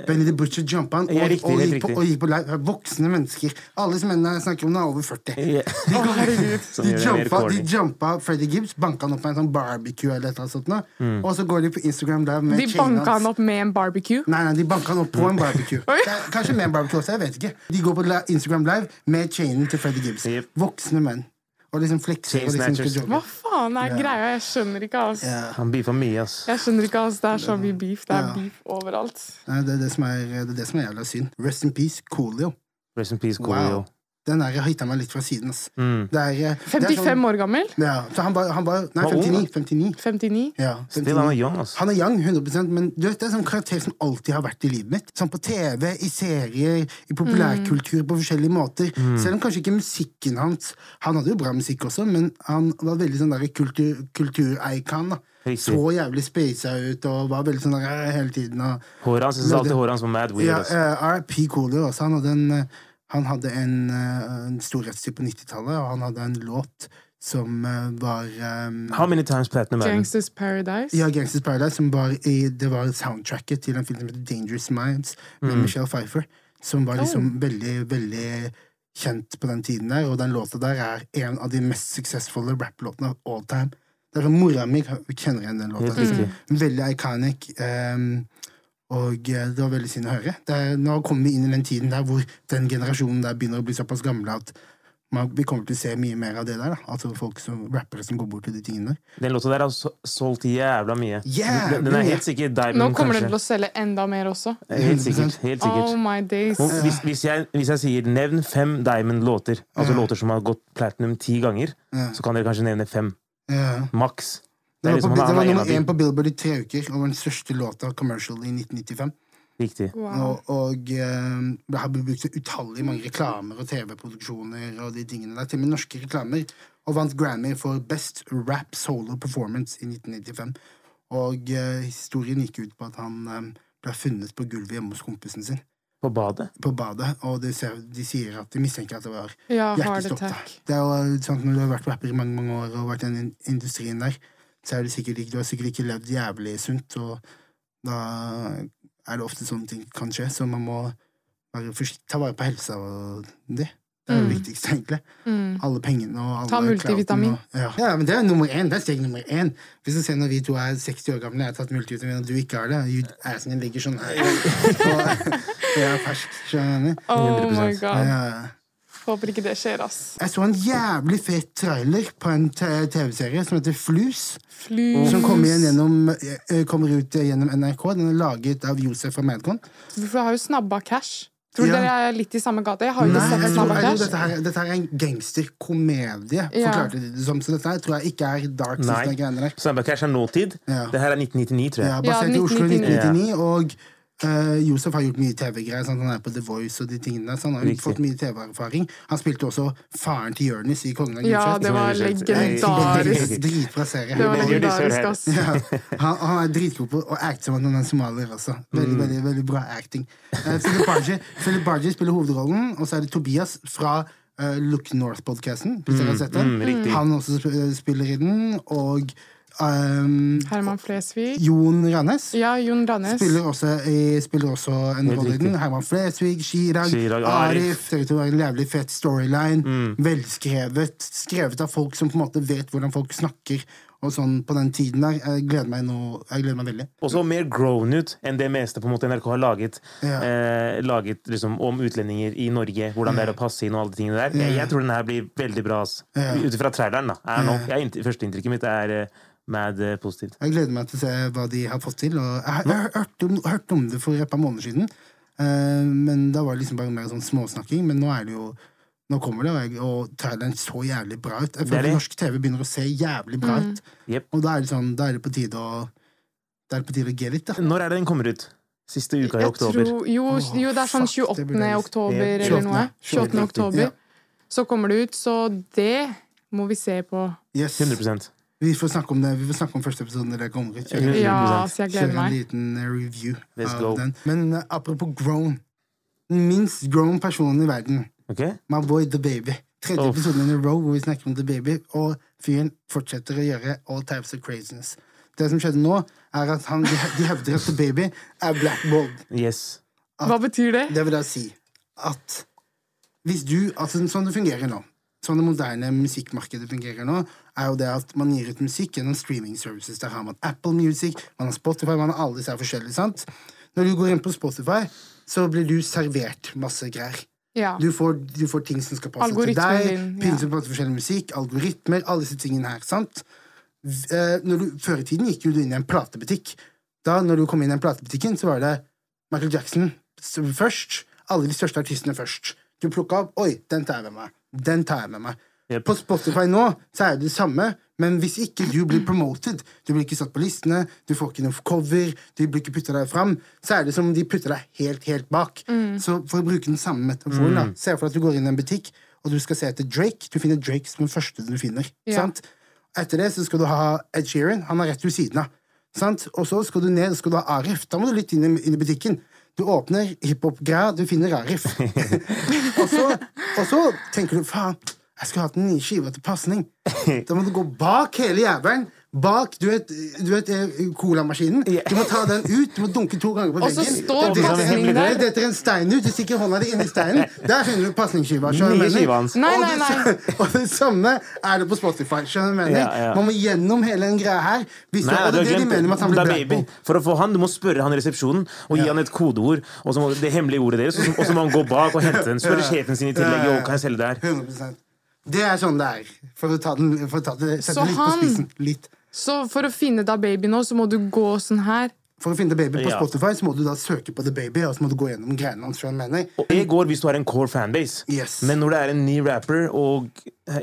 Benny the Butcher jumpa han og, Eh. Ja, riktig, og, helt gikk på, riktig. og gikk på live. Voksne mennesker. Alle som mennene jeg snakker om, nå er over 40. Ja. Som De gjør det mer jumpa, de corny. jumpa Freddy Gibbs, banka han opp med en sånn barbecue, eller et eller annet sånt, nå. Mm. og så går de på Instagram der med De chainen banka hans. han opp med en barbecue. Nei, nei, de banka han opp på en barbecue. Oi. Det er Kanskje med en barbecue også, jeg vet ikke. De går på la- Instagram Live med chainen til Freddy Gibbs. Yep. Voksne menn. Og liksom flekser. Og liksom Chainsnatchers. skal jogge. Hva faen er greia? Jeg skjønner ikke, ass. Han beefa mye, ass. Jeg skjønner ikke, ass. Det er så mye beef. Det er beef overalt. Nei, det, er det, som er, det er det som er jævla synd. Rest in peace, Coolio. Rest in peace, Coolio. Wow. Mm. Den der hitta meg litt fra siden. ass. Det er, eh, det er sånn- 55 år gammel. Ja, så han var, han var Nei, Var ung, 59. 59. 59. Ja, Still, han er young, altså. han er young, 100 men du vet, det er sånn karakter som alltid har vært i livet mitt. Sånn på TV, i serier, i populærkultur på forskjellige måter. Mm. Selv om kanskje ikke musikken hans Han hadde jo bra musikk også, men han var veldig sånn der kultur, kulturicon. da. Riktig. Så jævlig spasa ut og var veldig sånn der eh, hele tiden. Og, Håret hans, jeg synes alltid håret hans var mad weird. ja, Altså. eh, RP Cooler også. Han hadde en, eh, han hadde en, eh, en storhetstid på 90-tallet, og han hadde en låt som eh, var eh, How many times platinum er den? Gangsters Paradise. ja, Gangsters Paradise, som var i, det var soundtracket til en film som heter Dangerous Minds, med Mm. Michelle Pfeiffer, som var liksom veldig, veldig kjent på den tiden der, og den låta der er en av de mest suksessfulle rapplåtene av all time. Det er sånn, Mora mi kjenner igjen den låta. Helt Liksom. riktig. Veldig iconic. ehm, og eh, det var veldig synd å høre. Det er, nå kommer vi inn i den tiden der hvor den generasjonen der begynner å bli såpass gamle at man, vi kommer til å se mye mer av det der. Da. Altså folk som rappere som går bort til de tingene der. Den låta der har so- solgt jævla mye. Jævlig Den- Den er mye. helt sikkert Diamond, Nå kommer den kanskje. til å selge enda mer også. Helt sikkert. Mm. Helt sikkert. Oh my days. Og Hvis, hvis, jeg, hvis jeg sier 'nevn fem Diamond-låter', altså låter som har gått platinum ti ganger, så kan dere kanskje nevne fem. Ja. Maks. Det var, er på, liksom- han det er var en av nummer de. én på Billboard i tre uker, og var den største låta commercial i 1995. Riktig. Wow. Og, og eh, det har blitt brukt til utallige mange reklamer og TV-produksjoner og de tingene der, til og med norske reklamer, og vant Grammy for Best Rap Solo Performance i 1995. Og eh, historien gikk ut på at han eh, ble funnet på gulvet hjemme hos kompisen sin, På badet. på badet, og de, ser, de sier at de mistenker at det var Ja, hard hjertestopp. Da. attack. Det er jo sånn at Når du har vært rapper i mange mange år og vært i den in- industrien der, så er det sikkert ikke, du har sikkert ikke levd jævlig sunt, og da er det ofte sånne ting kan skje, så man må være forsikt- ta vare på helsa og det. Det er det viktigste, egentlig. Alle pengene og alle Mm. Ta multivitamin. clouten Og, ja. ja, men det er nummer én. Det er steg nummer én. Hvis du ser når vi to er 60 år gamle, jeg har tatt multivitamin, og du ikke har det, you- assen din ligger sånn her, og jeg er fersk, skjønner du? Oh my 100%. god. Ja, ja. Håper ikke det skjer, ass. Jeg så en jævlig fet trailer på en te- TV-serie som heter Flus. Flus. Som kommer, igjen gjennom, eh, kommer ut eh, gjennom NRK. Den er laget av Josef og Madcon. For jeg har jo snabba cash. Tror du Ja. dere jeg er litt i samme gate? Jeg har jo Nei, ikke sett jeg tror, snabba jeg tror cash. dette, her, dette her er en gangsterkomedie, Ja. forklarte de det som. Så dette her tror jeg ikke er dark Nei. system. greiene der. Samba Cash er nåtid. Ja. Det her er 1999, tror jeg. Ja, basert i Oslo i 1999. 1999. Og eh, Josef har gjort mye TV-greier. sant? Han er på The Voice og de tingene der. Så han har Riktig. fått mye TV-erfaring. Han spilte også faren til Jonis i Kongen av Ja, Gulset. det var Som jeg ikke legendarisk. kjente. Dritbra serie. Det var Men gjør de så legendarisk, her? ass. Ja, han, han er dritgod på å acte som om han er somalier også. Veldig, Mm. veldig, veldig bra acting. Eh, Philip Barji Philip Barji spiller hovedrollen, og så er det Tobias fra eh, Look North-podkasten. Hvis dere har sett den. mm, riktig. han også sp eh, spiller i den. Og ehm, Herman Flesvig. Jon Ranes. Ja, Jon Rannes. Spiller også, i, spiller også en rolle i den. riktig. Herman Flesvig, Chirag, Chirag, Arif. Arif. Mm. Ser ut til å være en jævlig fet storyline. Velskrevet. Skrevet av folk som på en måte vet hvordan folk snakker og sånn på den tiden der. Jeg gleder meg, nå, jeg gleder meg veldig. Også mer grown ut enn det meste på en måte NRK har laget. Ja. Eh, laget liksom om utlendinger i Norge, hvordan det er å passe inn og alle de tingene der. Jeg, jeg tror den her blir veldig bra. ass. Ut ifra traileren, da. Er nå. Jeg, inntil- Førsteinntrykket mitt er eh, mad eh, positivt. Jeg gleder meg til å se hva de har fått til. Og jeg jeg har hørt om, hørt om det for et par måneder siden, Eh, men da var det liksom bare mer sånn småsnakking. Men nå er det jo nå kommer det, og, jeg, og traileren så jævlig bra ut. Jeg Det er føler det. at Norsk TV begynner å se jævlig bra ut. Jep. Og da er det sånn, da er det på tide å Da er det på tide å get it, da. Når er det den kommer ut? Siste uka i Jeg oktober. tror, jo, jo, det er sånn fuck, det burde 28. jeg visst. oktober Ja. eller noe. 28. 28. Ja. oktober. Så kommer det ut, så det må vi se på. Yes. 100 Vi får snakke om det Vi får snakke om første episode når det kommer ut. Kjøre, Ja, så jeg gleder kjøre en meg. liten eh, review Let's av go. den. Men eh, apropos grown. Den minst grown personen i verden. Ok? My boy The Baby. Tredje Oh. episoden in a row hvor vi snakker om The Baby, og fyren fortsetter å gjøre all types of craziness. Det som skjedde nå, er at han, de, de hevder at The Baby er blackballed. Yes. Hva betyr det? Det vil da si at hvis du Altså sånn det fungerer nå. Sånn det moderne musikkmarkedet fungerer nå, er jo det at man gir ut musikk gjennom streaming services. Der har man Apple Music, man har Spotify, man har alle disse her forskjellige, sant? Når du går inn på Spotify, så blir du servert masse greier. Ja. Du får, du får ting som skal passe til Algoritmen deg, din, ting ja. som passer til forskjellig musikk, algoritmer, alle disse tingene her, sant? V- eh, Når du, før i tiden gikk jo du inn i en platebutikk. Da når du kom inn i en platebutikken, så var det Michael Jackson s- først, alle de største artistene først. Du plukka opp Oi, den tar jeg med meg. Den tar jeg med meg. Jep. På Spotify nå så er det det samme, men hvis ikke du blir promoted, du blir ikke satt på listene, du får ikke noe cover, du blir ikke putta deg fram, så er det som om de putter deg helt, helt bak. Så for å bruke den samme metaforen, da, se for deg at du går inn i en butikk, og du skal se etter Drake. Du finner Drake som den første du finner. Ja. sant? Etter det så skal du ha Ed Sheeran. Han er rett ved siden av. Sant? Og så skal du ned og skal du ha Arif. Da må du litt inn i, inn i butikken. Du åpner hiphop-greia, du finner Arif. og, så, og så tenker du faen, jeg skulle hatt den nye skiva til pasning. Da må du gå bak hele jævelen. Bak du vet, du vet eh, colamaskinen. Du må ta den ut, du må dunke to ganger på Og så veggen. står Det detter- pasningen der. Det detter en stein ut, du stikker hånda di inn i steinen. Der finner du pasningsskiva. skjønner du hva Nye jeg mener? skiva hans. Nei, og, nei, nei. Det, og det samme er det på Spotify. skjønner du hva jeg mener? Ja, ja. Man må gjennom hele den greia her. Hvis Nei, det, nei, og det er det de glemt mener med at han Da blir baby. blackball. For å få han, Du må spørre han i resepsjonen og gi han et kodeord. Og så må det hemmelige ordet deres Og så- og så må han gå bak og hente den. Spørre sjefen sin i tillegg. Ja, ja, ja. Jo, kan jeg selge det her? 100%. Det er sånn det er. For å ta den, for å ta det, sette Så det litt han- på spissen. Litt. Så for å finne da baby nå, så må du gå sånn her. For å finne The Baby på Ja. Spotify, så må du da søke på The Baby, og så må du gå gjennom greiene hans. skjønner du hva jeg mener? Og det går hvis du har en core fanbase. Yes. Men når det er en ny rapper og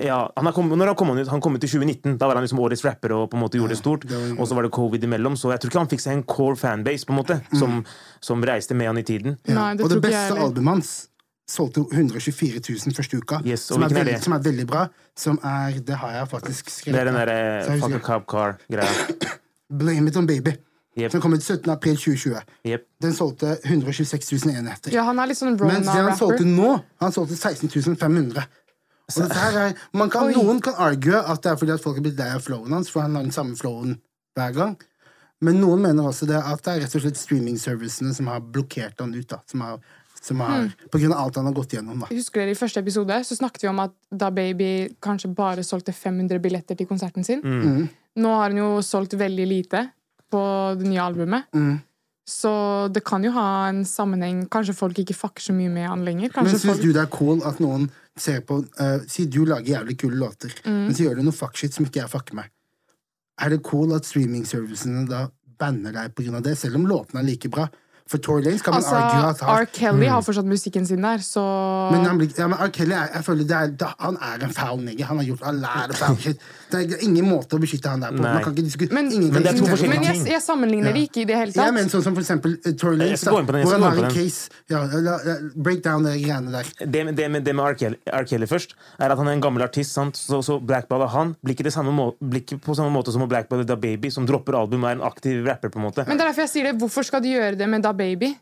ja, han har kommet, når han kom, ut, han kom ut i 2019, da var han liksom årets rapper og på en måte gjorde det stort. var- Og så var det covid imellom, så jeg tror ikke han fikk seg en core fanbase på en måte Mm. som, som reiste med han i tiden. Nei, det og det tror ikke jeg beste heller. albumet hans solgte 124 000 første uka, Yes, og som, er hvilken er veldig, det? som er veldig bra. Som er Det har jeg faktisk Det skrevet. er den eh, her. derre Så jeg fuck a husker- cop car-greia. Blame It On Baby. Jep. Som kom ut 17. april 2020. Jep. Den solgte 126 000 enheter. Ja, han er litt sånn Mens det han solgte Rona-rapper. nå, han solgte 16 500. Og dette her er, man kan, noen kan argue at det er fordi at folk er blitt lei av flowen hans, for han har den samme flowen hver gang. Men noen mener også det at det er rett og slett streaming-servicene som har blokkert han ut. da, som har, som Hmm. har, På grunn av alt han har gått gjennom. da. Husker dere I første episode så snakket vi om at da Baby kanskje bare solgte 500 billetter til konserten sin. Mm. Mm. Nå har hun jo solgt veldig lite på det nye albumet. Mm. Så det kan jo ha en sammenheng. Kanskje folk ikke fucker så mye med han Men lenger. Kanskje syns Altså, folk... du det er cool at noen ser på eh, Si du lager jævlig kule låter, Mm. men så gjør du noe fuckshit som ikke jeg fucker med. Er det cool at streaming-servicene da banner deg på grunn av det, selv om låtene er like bra? For Tory Lanez kan man Altså, argue at har Mm. R. Kelly har fortsatt musikken sin der, så Men, han blir, ja, men R. Kelly er, jeg føler det er, da, han er en foul nigger. Han har gjort all ære foul shit. Det er ingen måte å beskytte han der på. Nei. Man kan ikke diskutere Men, ingen kan det er to diskutere- forskjellige men jeg, ting. jeg sammenligner det ikke i det hele Jeg tatt. mener sånn som for eksempel eh, Tory Jeg Lanez, skal da, gå inn på den, jeg hvor skal han har gå inn på en den. case. Ja, la, la, break down de greiene der. det, med- det med, det med R. Kelly, R. Kelly først, er at han er en gammel artist. Sant? Så, så blackballer han. Blir ikke, det samme må, blir ikke på samme måte som å blackballe Da Baby, som dropper album og er en aktiv rapper. på en måte Men det er derfor jeg sier det. Hvorfor skal de gjøre det med Da Baby?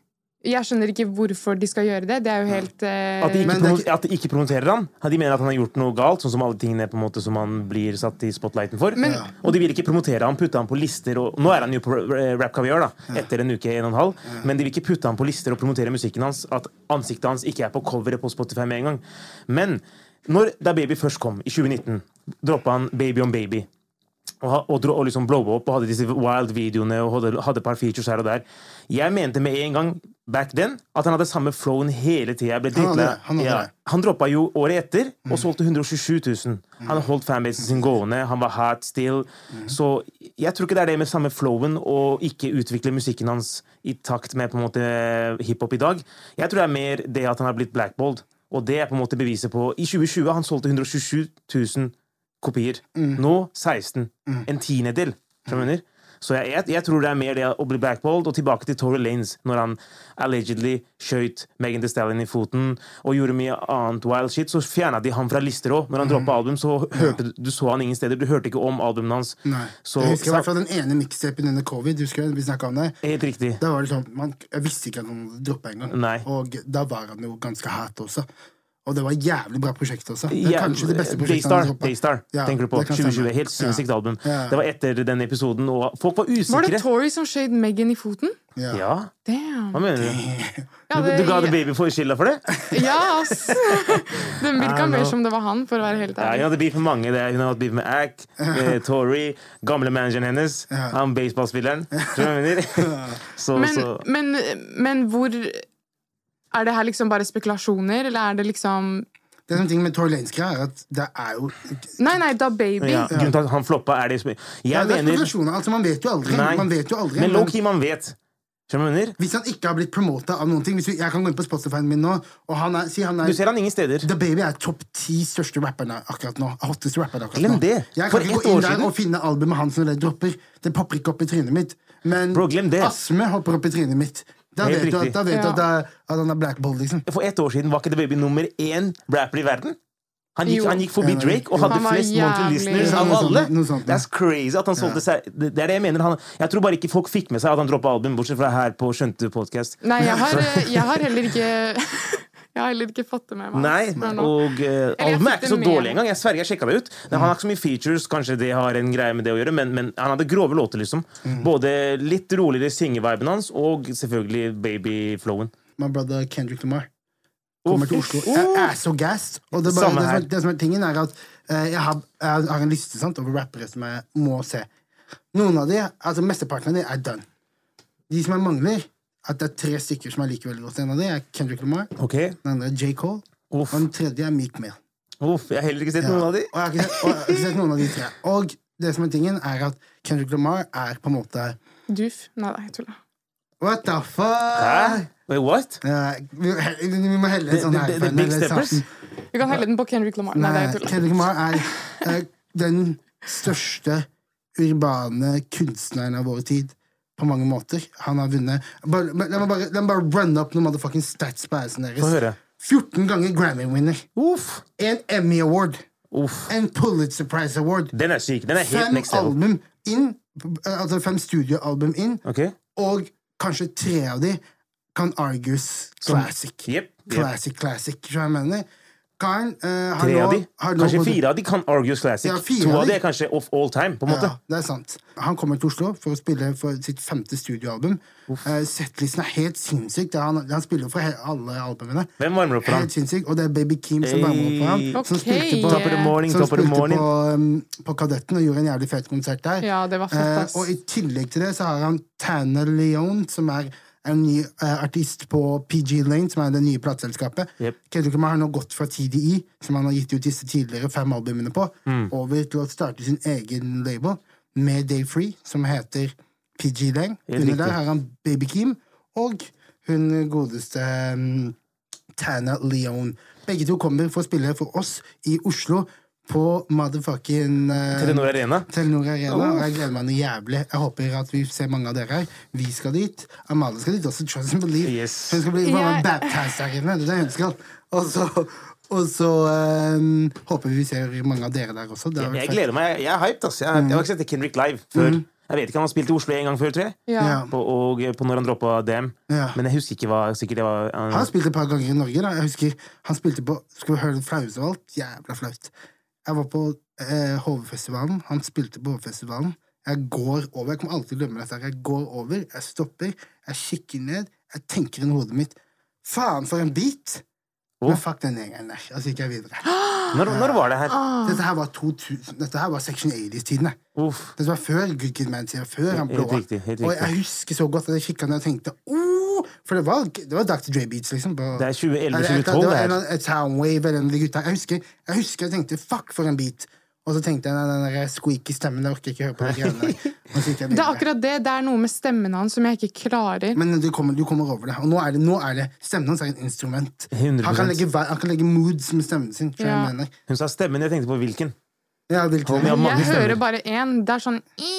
Jeg skjønner ikke hvorfor de skal gjøre det. Det er jo helt eh, At de, ikke Men det er promo- ikke- at de ikke promoterer han. At De mener at han har gjort noe galt, sånn som alle tingene på en måte som han blir satt i spotlighten for. Men- og de vil ikke promotere han, putte han på lister og, Nå er han jo på eh, Rap Caviar, da, etter en uke, en og en halv, men de vil ikke putte han på lister og promotere musikken hans. At ansiktet hans ikke er på coveret på Spotify med en gang. Men når da Baby først kom, i 2019, droppa han Baby on Baby. Og, ha- og, dro- og liksom blowa opp og hadde disse wild-videoene og hadde, hadde et par features her og der. Jeg mente med en gang back then at han hadde samme flowen hele tida. hadde det, han hadde ja. det. Mm. han droppa jo året etter og solgte 127 000. Han holdt fanbasen sin gående, han var hot still. Mm. Så jeg tror ikke det er det med samme flowen og ikke utvikle musikken hans i takt med på en måte eh, hiphop i dag. Jeg tror det er mer det at han har blitt blackballed. Og det er på en måte beviset på I 2020 han solgte 127 000 kopier. Mm. Nå 16. En tiendedel. skjønner du hva jeg mener? Så jeg, jeg, jeg tror det er mer det å bli blackballed og tilbake til Tory Lanes når han allegedly skjøt Megan Thee Stallion i foten og gjorde mye annet wild shit. Så fjerna de ham fra lister òg. Når han Mm. droppa album, så hørte du, du så han ingen steder. Du hørte ikke om albumene hans. Nei. Så, jeg husker i så hvert fall den ene mixtapen under covid. Husker jeg, vi snakket om det. Helt riktig. Da var det sånn, man, Jeg visste ikke at han hadde droppa engang. Nei. Og da var han jo ganske hot også. Og det var et jævlig bra prosjekt også. Det er Ja, kanskje det beste prosjektet Daystar, han har droppet. Daystar Ja, tenker du på. det kan stemme. 2020. Helt sinnssykt Ja. album. Ja. Det var etter den episoden, og folk var usikre. Var det Tory som skjøt Megan i foten? Ja. Ja, Damn. hva mener du? Ja, Du, du ga The Baby for skylda for det? Ja, ass! Den virka mer som det var han, for å være helt Ja, hun ærlig. hadde beef med mange. Det. Hun har hatt beef med Ack, eh, Tory, gamle manageren hennes, han baseballspilleren. Tror du hva jeg mener? Så, Men, så men, men hvor Er det her liksom bare spekulasjoner, eller er det liksom Det som er ting med Tory Lanez-greia, er at det er jo Nei, nei, Da Baby. ja. Grunnen til at han floppa, er det som Jeg ja, det er mener spekulasjoner. Altså, man vet jo aldri. Nei. Man vet jo aldri Men low-key, man vet. Skjønner du hva jeg mener? Hvis han ikke har blitt promota av noen ting hvis vi, Jeg kan gå inn på Spotify-en min nå, og han er, si han er Du ser han ingen steder. The Baby er topp ti største rapperne akkurat nå. Hotteste rapperne akkurat Glem nå. det. Jeg For kan ikke ett gå år inn der siden. og finne albumet hans når det dropper. Det popper ikke opp i trynet mitt. Men Bro, glem det. Asme hopper opp i trynet mitt. Da Helt vet du at, riktig. da vet du at, det Ja. er, at han er blackball, liksom. For ett år siden var ikke The Baby nummer én rapper i verden. Han gikk, Jo. han gikk forbi Ja, men- Drake og hadde Han var flest monthly jævlig- listeners Ja, av noe alle. sånt, noe sånt, ja. That's crazy at han solgte seg Det det er det jeg mener. Han, jeg tror bare ikke folk fikk med seg at han droppa album, bortsett fra her på Skjønte podcast. Nei, jeg har, jeg har heller ikke Jeg har heller ikke fått det med meg. Nei, før nå. og uh, jeg albumet er ikke sitter så med- dårlig engang. Jeg sverger, jeg sjekka det ut. Men Han har ikke så mye features, kanskje det har en greie med det å gjøre, men, men han hadde grove låter, liksom. Mm. Både litt roligere syngeviben hans, og selvfølgelig babyflowen. My brother Kendrick Lamar. kommer til Oslo. Å, Jeg er så gassed. Og det, er bare, Samme det, som her. er, det som er tingen, er at eh, jeg, har, jeg har en liste sant, over rappere som jeg må se. Noen av de, altså Mesteparten av de er done. De som jeg mangler, at det er tre stykker som jeg liker veldig godt. En av de er Kendrick Lamar. Ok. Den andre er J. Cole. Uff. Og den tredje er Meek Mill. Uff, jeg har heller ikke sett noen av de. Og jeg har ikke sett, og jeg har ikke sett noen av de tre. Og det som er tingen, er at Kendrick Lamar er på en måte Doof. Nei, nei, jeg tuller. What the fuck? Hæ? Wait, what? Ja, vi, vi må helle en sånn The- the- her. the big steppers? Vi kan helle den på Kendrick Lamar. Nei, det Nei, er tull. Kendrick Lamar er eh, den største urbane kunstneren av vår tid. På mange måter. Han har vunnet bare, men La meg bare, la meg bare runne opp noen motherfucking stats på assen Få høre. deres. 14 ganger Grammy-winner. Uff. En Emmy Award. Uff. En Pulitzer Prize Award. Den er syk. Den er helt Fem next level. album inn, eh, altså fem studioalbum inn, Ok? og kanskje tre av de kan argus classic. Jep, jep. Classic, classic, skjønner du hva jeg mener. Karen eh, har Tre nå, av de. har nå Kanskje gått- fire av de kan Argues Classic. Ja, fire to av av de de. er kanskje off all time, på en måte. Ja, det er sant. Han kommer til Oslo for å spille for sitt femte studioalbum. Uh, Settlisten er helt sinnssyk. Det er Han, han spiller for he alle albumene. Hvem varmer opp for han? Helt sinnssyk, Og det er Baby Keem som varmer opp for han. Hey. Som Ok. spilte på, Top of the morning, som top of the spilte morning. på, um, på Kadetten og gjorde en jævlig fet konsert der. Ja, det var fett, Eh, ass. og i tillegg til det så har han Tanner Leon, som er en ny eh, artist på PG Lane, som er det nye plateselskapet. Jep. Kendrick Lamar har nå gått fra TDI, som han har gitt ut disse tidligere fem albumene på, Mm. over til å starte sin egen label med Day Free, som heter PG Lane. Helt Under riktig. der har han Baby Keem og hun godeste um, Tana Leon. Begge to kommer for å spille for oss i Oslo på motherfucking eh, Telenor Arena. Telenor Arena. og Jeg gleder meg noe jævlig. Jeg håper at vi ser mange av dere her. Vi skal dit. Amalie skal dit også. Trust and believe. Yes. Hun skal bli yeah. Jeg- baptized her inne. Det er det hun skal. Og så, og så eh, håper vi vi ser mange av dere der også. Det har vært Jeg fett. gleder meg. Jeg er hyped, ass. Jeg, har- Mm. jeg har ikke sett Kendrick live før. Jeg vet ikke, Han har spilt i Oslo en gang før, tror jeg. Ja. Ja. På, og på når han droppa DM. Ja. Men jeg husker ikke hva sikkert det var. eh, Han har spilt et par ganger i Norge. da Jeg husker Han spilte på Skal vi høre det flaueste av alt? Jævla flaut. Jeg var på eh, Hovefestivalen. Han spilte på Hovefestivalen. Jeg går over. Jeg kommer alltid til å glemme dette. her. Jeg går over, jeg stopper, jeg kikker ned, jeg tenker inn i hodet mitt Faen, for en beat! Men fuck den gjengen der. Og så gikk jeg videre. Når, når var det her? Dette her var, 2000, dette her var Section 80s-tiden. jeg. Uff. Det var før Good Kid Man Tida, før han Helt blå. riktig, helt Og riktig. jeg husker så godt at jeg kikka ned og tenkte oh! For det var, det var Dr. Dre-beats, liksom. På, Det er 2011, Eller et- 2012 det var det en her. av- et Soundwave eller en av de gutta. Jeg husker, jeg husker jeg tenkte fuck for en beat. Og så tenkte jeg nei, den der squeaky stemmen, jeg orker ikke høre på de greiene der. Og så gikk jeg Det er videre. akkurat det. Det er noe med stemmen hans som jeg ikke klarer. Men du kommer, du kommer over det. Og nå er det, nå er det stemmen hans er et instrument. Han kan, 100%. legge, ver- han kan legge moods med stemmen sin. skjønner du hva jeg Ja. mener. Hun sa stemmen, jeg tenkte på hvilken. Ja, hvilken- Homie, han- mange Jeg stemmer. hører bare én. Det er sånn i,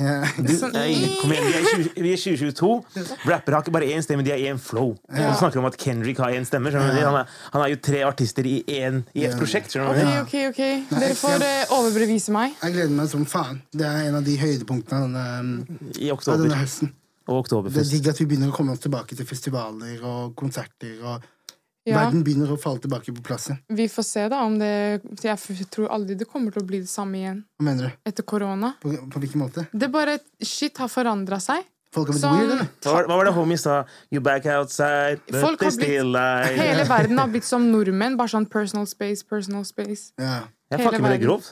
Ja. sånn, Nei, kom igjen, vi er, 20, vi er 2022. sånn- Rappere har ikke bare én stemme, de har én flow. Ja. snakker om at Kendrick har én stemme. skjønner du? Han er, han er jo tre artister i, en, i et prosjekt. skjønner du? OK, OK, OK. Dere får eh, overbevise meg. Jeg gleder meg som faen. Det er en av de høydepunktene av denne, um, I av oktober. denne høsten. Og Det er Oktoberfest. digg at vi begynner å komme oss tilbake til festivaler og konserter. og Ja. Verden begynner å falle tilbake på plass igjen. Vi får se, da, om det Jeg f- tror aldri det kommer til å bli det samme igjen Hva mener du? etter korona. På, på hvilken måte? Det er bare Shit har forandra seg. Sånn, Folk har blitt Som- weird, eller? Hva var, hva var det homie sa? You back outside, but Folk they har still lie. blitt, hele verden har blitt som nordmenn. Bare sånn personal space, personal space. Ja. Jeg hele fucker med det verden. grovt.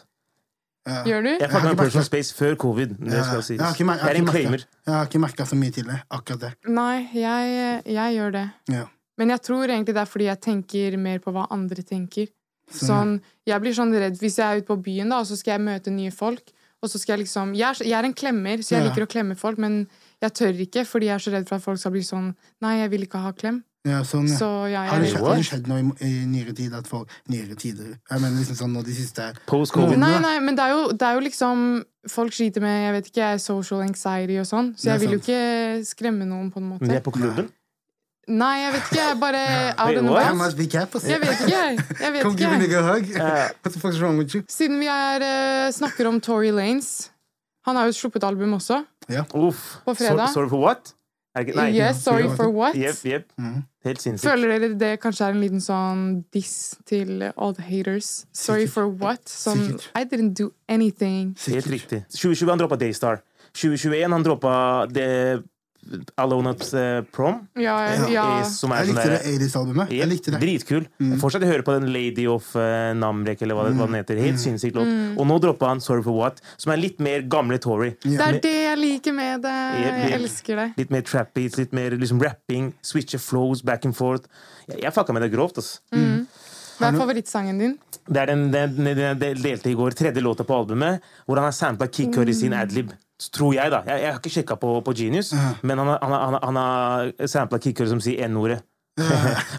Gjør du? Jeg fucker ikke med personal merket- space før covid. Det skal sies. Jeg har ikke mer- jeg Jeg har er en ikke claimer. merket- jeg har ikke merka så mye til det. Akkurat det. Nei, jeg, jeg gjør det. Ja. Men jeg tror egentlig det er fordi jeg tenker mer på hva andre tenker. Sånn, jeg blir sånn redd hvis jeg er ute på byen, da, og så skal jeg møte nye folk. Og så skal jeg liksom Jeg er, så- jeg er en klemmer, så jeg Ja. liker å klemme folk, men Jeg tør ikke, fordi jeg er så redd for at folk skal bli sånn Nei, jeg vil ikke ha klem. Ja, sånn, ja. Så ja, Har det jeg skjedd, har det skjedd noe i, i nyere tid at folk Nyere tider. Jeg mener liksom sånn nå de siste Post-covid. Nei, nei, men det er, jo, det er jo liksom Folk sliter med jeg vet ikke, social anxiety og sånn, så Det er jeg vil jo ikke skremme noen, på en måte. Men de er på klubben. Nei, jeg vet ikke. Jeg er bare out Wait, and what? I about. must altså, be careful. Jeg vet ikke, jeg. jeg Come vet give me ikke. a hug. What the fuck is wrong with you? Siden vi er, eh, snakker om Tory Lanes Han har jo sluppet album også. Uff. På fredag. Sor- Sorry for what? Er det ikke, nei. Yes, sorry for what? Jepp, jepp. Mm. Helt sinnssykt. Føler dere det kanskje er en liten sånn diss til all the haters? Sorry Sikkert. for what? Sånn Sikkert. I didn't do anything. Helt riktig. 2020 han droppa Daystar. 2021 han droppa The Alone Ups eh, Prom. Ja, ja. eh, Som er Jeg sånn likte det der- 80s-albumet. Jeg likte det. Mm. Dritkul. Fortsatt jeg hører på den Lady of eh, Namrek, eller hva, det, hva den heter. Mm. Helt sinnssyk låt. Mm. Og nå droppa han Sorry for What, som er litt mer gamle Tory. Det er det jeg liker med det. Jep, Jeg jep. elsker det. Litt mer trap beats, litt mer liksom rapping. Switche flows back and forth. Jeg, jeg fucka med det grovt, ass. Hva er favorittsangen din? Det er den, den, den, den del- delte i går, tredje låta på albumet, hvor han har sampla Kid Curry sin adlib. Tror jeg, da. Jeg, jeg har ikke sjekka på, på Genius, men han har, han har, han har, han har sampla Kid Curry som sier N-ordet.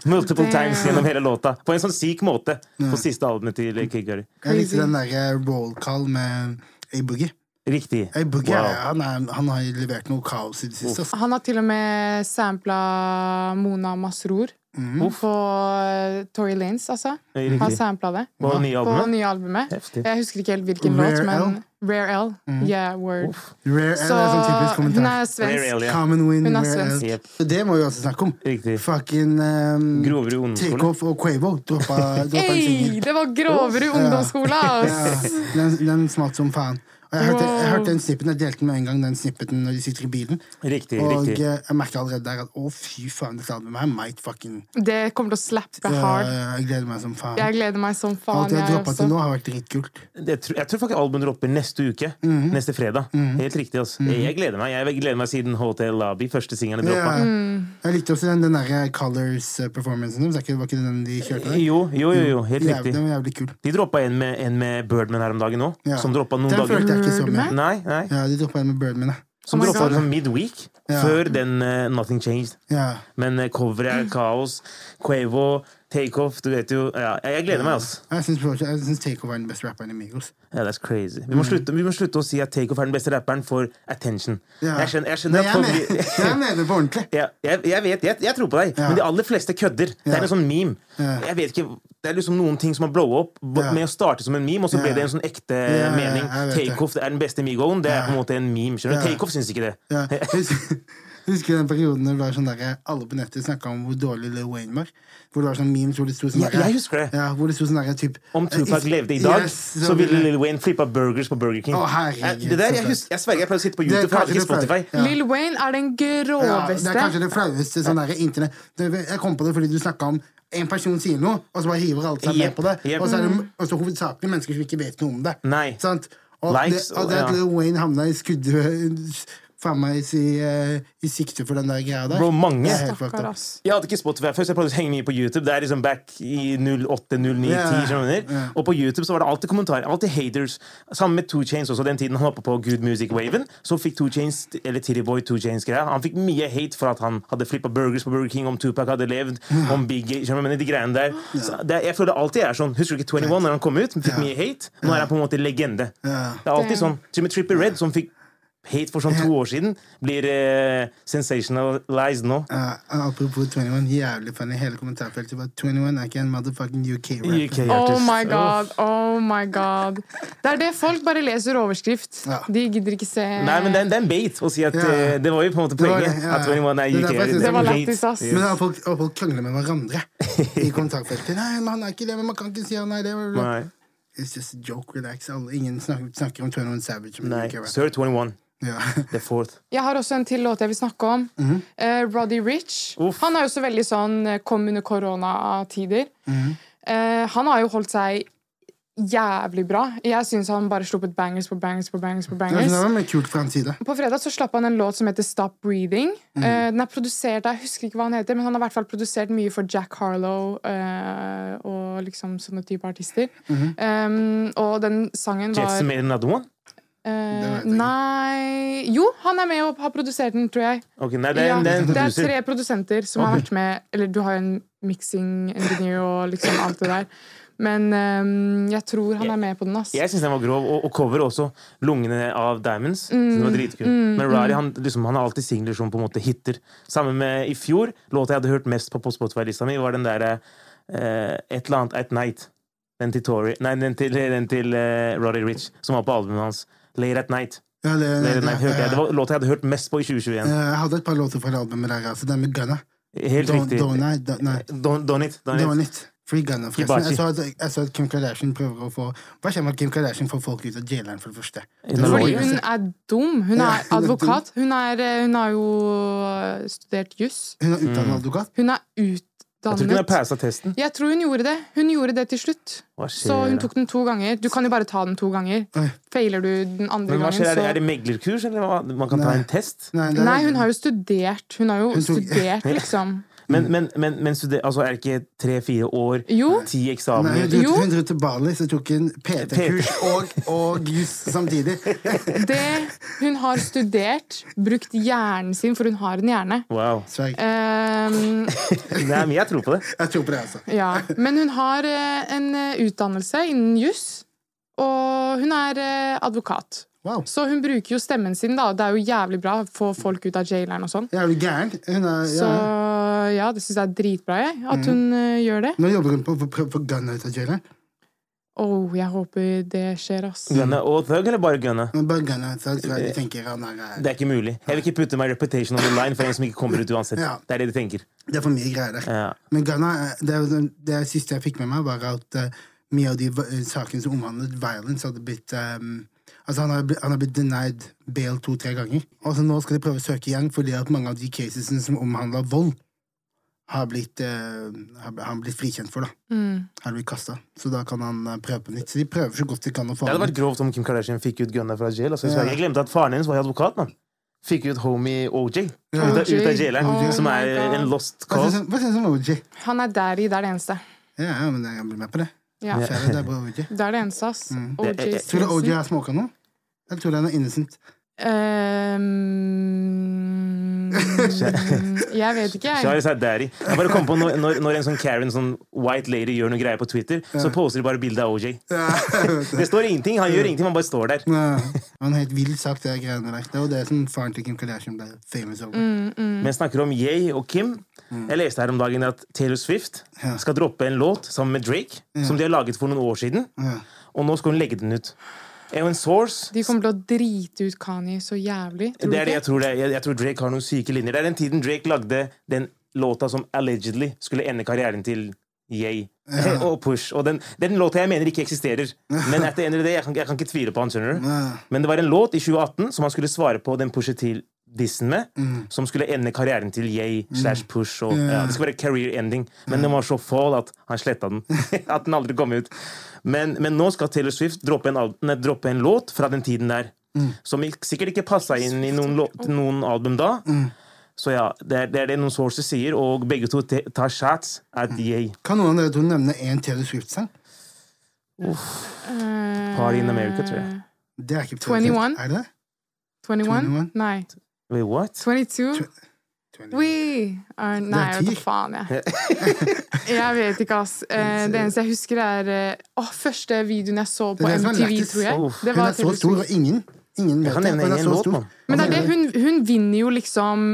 Multiple Damn. times gjennom hele låta. På en sånn syk måte. På siste albumet til Kid Curry. Jeg Crazy. likte den derre roll call med A-Boogie. Riktig. A-Boogie Wow. er- han, er- han har levert noe kaos i det siste. ass. Han har til og med sampla Mona Masroor Mm. på eh, Tory Lanes, altså. Riktig. Har sampla det På det nye albumet? nye albumet. Heftig. Jeg husker ikke helt hvilken Rare låt, men L? Mm. Rare L. Yeah, word. Rare L er Så sånn typisk hun kommentar. er svensk. Rare L, ja. Common win, Hun er Rare L. svensk. Jep. Det må vi også snakke om. Riktig. Fucking um, Groverud ungdomsskole. Takeoff og Quavo droppa, droppa en Hey, singel. det var Groverud ungdomsskole, Ja, ass! den, den smalt som faen. Og jeg hørte, jeg Wow. hørte den snippen, jeg delte med en gang den snippeten når de sitter i bilen. Riktig. Og riktig. eh, jeg merker allerede der at å, fy faen, dette albumet her might fucking Det kommer til å slappe Ja, hard. Jeg gleder meg som faen. Jeg gleder meg som Alt faen, jeg har jeg droppa til også. nå, har vært dritkult. Jeg tror, jeg tror faktisk albumet dropper neste uke. Mhm. Neste fredag. Helt riktig. ass. Jeg, jeg gleder meg Jeg gleder meg siden Hotel Lobby, første singelen, droppa. Ja. Mm. Jeg likte også den, eh, den derre Colors-performancen deres. Er ikke- Var ikke det den de kjørte der? Eh, Jo, jo, jo, jo. Helt Jævlig, riktig. den var jævlig kul. De droppa en med, en med Birdman her om dagen òg. Ja. Som droppa noen den dager følte jeg ikke så med. Birdman? Nei, nei. Ja, de droppa den med Birdman, ja. Som Oh my droppa God. sånn midweek, Ja. før den eh, Nothing Changed. ja. Men eh, coveret er kaos. Quavo, takeoff, du vet jo ja, Jeg jeg gleder meg, altså. Jeg syns Takeover er den beste rapperen i Migos. Ja, that's crazy. Mm. Vi må, slutte, vi må slutte å si at takeoff er den beste rapperen for attention. Ja. Jeg skjønner, jeg Nei, skjønner jeg, at folk mener, jeg mener det på ordentlig. Ja, jeg, jeg vet, jeg, jeg tror på deg, men de aller fleste kødder. Det Ja. er en sånn meme. Ja. Jeg vet ikke, Det er liksom noen ting som har blowa opp b- Ja. med å starte som en meme, og så ble Ja. det en sånn ekte ja, mening. jeg vet det. Takeoff er den beste migoen. Det er på en måte en meme. skjønner du? Ja. Takeoff syns ikke det. Ja. Husker, husker den perioden det var sånn der, alle på nettet snakka om hvor dårlig Lil Wayne var? Hvor det var sånn memes hvor det sto sånn Ja, der- jeg husker det. Ja, hvor det sto sånn der, typ, Om Tupac If- levde i dag, Yes, så ville Lil Wayne flippa burgers på Burger King. Å, herregud, det der, jeg, så hus- jeg sverger jeg pleide å sitte på er YouTube, for jeg kanskje hadde det ikke Spotify. flaue. Ja. Lil Wayne er den ja, Det er groveste. kanskje det flaueste sånn der internett Det- Jeg kom på det fordi du snakka om en person sier noe, og så bare hiver alle seg med Jep, på det. jep. Og så er det og så hovedsakelig mennesker som ikke vet noe om det. Nei. Sant? Og, Likes, det, og det at ja. Lil Wayne hamna i skudd Faen meg i, eh, i sikte for den der greia der. Bro, mange. Det er helt fucked Stakkar, up. ass. Jeg hadde ikke Spotify før, så jeg prøvde å henge mye på YouTube. Det er liksom back i 08, 09, 10, Ja, skjønner du? ja. Og på YouTube så var det alltid kommentarer. Alltid haters. Sammen med Two Chains også. Den tiden han var oppe på Good Music-waven, så fikk Two Chains, eller Titty Boy Two Chains-greia, han fikk mye hate for at han hadde flippa burgers på Burger King, om Tupac hadde levd, om Biggie skjønner du, men de greiene der. Så det, jeg føler det alltid er sånn. Husker du ikke 21 når han kom ut? Fikk mye hate. Nå er han på en måte legende. Det er alltid sånn. Til og med Trippie Red, som fikk hate for sånn to år siden, blir eh, sensationalized nå. Ja, apropos 21, jævlig funny. Hele kommentarfeltet var 21 er ikke en motherfucking UK-rapper. UK Oh artist. my Uff. god, oh my god. Det er det folk bare leser overskrift. Ja. De gidder ikke se Nei, men det er, det er en bait å si at Ja. eh, Det var jo på en måte Det var poenget. det, ja. At 21 er Det er UK. derfor jeg synes Det var en bait. lættis, ass. Men da har folk, har folk krangler med hverandre i kommentarfeltet. Nei, men han er ikke det, men man kan ikke si han er det. bla, bla, bla. Nei. It's just a joke, relax. Alle- Ingen snakker, snakker om 21 Savage. som en Nei. UK-rapper. Sir 21. Ja. The fourth. Jeg har også en til låt jeg vil snakke om. Eh, Roddy Rich. Mhm. Uff. Han er jo så veldig sånn eh, kom under koronatider. Mhm. Eh, han har jo holdt seg jævlig bra. Jeg syns han bare slo på et bangers på bangers på bangers. på Jeg synes bangers. det var mye kult fra hans side. På fredag så slapp han en låt som heter Stop Breathing. Eh, den er produsert, Jeg husker ikke hva han heter, men han har i hvert fall produsert mye for Jack Harlow eh, og liksom sånne type artister. Eh, og den sangen var Jets made another one? vet Eh, jeg ikke. nei Jo, han er med og har produsert den, tror jeg. Ok, nei, det er, ja, en- det er en det er producer. tre produsenter som har vært med Eller du har jo en mixing engineer og liksom alt det der. Men eh, jeg tror han er med på den, ass. Jeg syns den var grov, og, og cover også. 'Lungene av Diamonds'. Mm, synes den var dritkul. Men Rari han, liksom, han har alltid singler som på en måte hitter. Sammen med i fjor. Låta jeg hadde hørt mest på på Spotify-lista mi, var den der eh, Et eller annet At Night. Den til Tory Nei, den til, den til eh, Roddy Rich, som var på albumet hans. Late at Night. Ja, det, Late det, at night det, hørte eh, jeg. Det var låta jeg hadde hørt mest på i 2021. jeg hadde et par låter fra det albumet der, altså. Den med Gunna. Helt Don't, riktig. don't, nei, don't, nei. Don, don it. Don it. Don't it. Free Gunna, forresten. Kibachi. Jeg så, at, jeg så at Kim Kardashian prøver å få Hva skjer med at Kim Kardashian får folk ut av jaileren, for det første? Det Hun er Fordi lawyer. hun er dum. Ja, hun Hun er er dum. advokat. Hun, er, eh, hun har jo studert juss. Hun er utdannet Mm. advokat. Hun er Jeg tror ikke hun har utdannet. passa testen. Jeg tror hun gjorde det. Hun gjorde det til slutt. Hva Så hun skjer? da? tok den to ganger. Du kan jo bare ta den to ganger. Oi. Feiler du den andre Men hva gangen, skjer? Er det, så er det meglerkurs, eller hva? Man kan ta Nei. en test? Nei, det er- Nei, hun har jo studert. Hun har jo Hun tok- studert, liksom. Men, men, men, men studer, altså, er det ikke tre-fire år, Jo. ti Nei, eksamener hun, dro, Jo. hun dro til Bali, så tok hun PT-kurs og, og juss samtidig. Det hun har studert, brukt hjernen sin, for hun har en hjerne. Wow. Sverg. Eh. Ehm, Det er mye jeg tror på det. Mm. Jeg tror på det, altså. ja. Men hun har eh, en eh, utdannelse innen juss, og hun er eh, advokat. Wow. Så hun bruker jo stemmen sin, da. og Det er jo jævlig bra å få folk ut av jaileren og sånn. Ja, Er du gæren? Hun er, Så ja. Mhm. ja, det syns jeg er dritbra, jeg. At hun eh, gjør det. Nå jobber hun på å prøve å få Gunna ut av jaileren. Oh, jeg håper det skjer, ass. Gunne og thug, eller bare gunne? Men Bare Gunna, så tror jeg de tenker han er eh, Det er ikke mulig. Jeg vil ikke putte my reputation on the line for en som ikke kommer ut uansett. Ja. Det er det de tenker. Det er for mye greier der. Ja. Men Ghana, eh, det, er jo den- det siste jeg fikk med meg, var at eh, mye av de va- eh, sakene som omhandlet violence, hadde blitt ehm, Altså, han har, blitt, han har blitt denied bail to-tre ganger. Og så nå skal de prøve å søke igjen, fordi at mange av de casesene som omhandla vold, har blitt, eh, har, har han blitt frikjent for, da. Har blitt kasta. Så da kan han eh, prøve på nytt. Så de prøver så godt de kan å få Det hadde han vært ut. grovt om Kim Kardashian fikk ut gunne fra jail. Altså, i Ja. Sverige. Jeg glemte at faren hennes var jo advokat. Man. Fikk ut homie OJ ut av, ut av jaileren, Oh som er my God. en lost Hva cause. syns- Hva syns du om OJ? Han er daddy, det er det eneste. Ja, ja, men jeg blir med på det. Ja. Kjære, det er bare OJ. Det er det eneste, ass. Mm. Det er- OJ Tror du OJ Simpson. har smoka nå? Eller tror du han er innocent? Eh, Ehm, jeg vet ikke, Så har jeg. jeg sagt daddy. Jeg bare kom på når, når, når en sånn Karen, sånn white lady, gjør noe greier på Twitter, så poster de bare bilde av OJ. Det står ingenting. Han gjør ingenting, han bare står der. Ja, Han er helt vill sagt, det greiene der. Det var det som faren til Kim Kardashian ble famous over. Mm. Men snakker om Ye og Kim. Jeg leste her om dagen at Taylor Swift skal droppe en låt sammen med Drake, som de har laget for noen år siden, og nå skal hun legge den ut. Er jo en source. De kommer til å drite ut Kanye så jævlig. Tror du Det er det ikke? jeg tror det er. Jeg, jeg tror Drake har noen syke linjer. Det er den tiden Drake lagde den låta som allegedly skulle ende karrieren til Ye og Push. Og den, den låta jeg mener ikke eksisterer. Men at the end of the day, jeg kan, jeg kan ikke tvile på han, skjønner du. Men det var en låt i 2018 som han skulle svare på den Pusha til dissen med, som skulle ende karrieren til Ye slash Push. Og, ja, det skulle være career ending, men den var så fall at han sletta den. at den aldri kom ut. Men, men nå skal Taylor Swift droppe en, al- nei, droppe en låt fra den tiden der. Som ik- sikkert ikke passa inn i noen, lå- til noen album da. Så ja, det er, det er det noen sources sier, og begge to te- tar shots at yay. Kan noen av dere to nevne én Taylor Swift-sang? Eh, Party in America, tror jeg. Det er ikke Taylor 21? Swift. Er det det? 21? 21? Nei. Wait, what? 22? 21. We are Eh, Nei, jeg vet ti. da faen, jeg. Jeg vet ikke, ass. Eh, Det eneste jeg husker, er eh, Å, første videoen jeg så på Det er det som er MTV, lættis. tror jeg. Uff. Det Hun var er så Taylor stor, Swift. og ingen, ingen vet Jeg kan det. nevne Hun er en så låt, stor. mann. Men det er det, hun, hun vinner jo liksom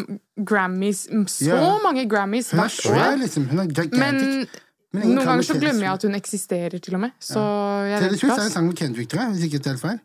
Grammys. Mm, Så Ja. mange Grammys Hun er hvert år. svær, liksom. Hun er gigantic. Men Men ingen noen kan ganger så notere glemmer jeg Swift. at hun eksisterer, til og med. Så jeg Taylor vet ikke, Swift er en ass. sang med Kendrick, tror jeg. Hvis ikke jeg tar helt feil.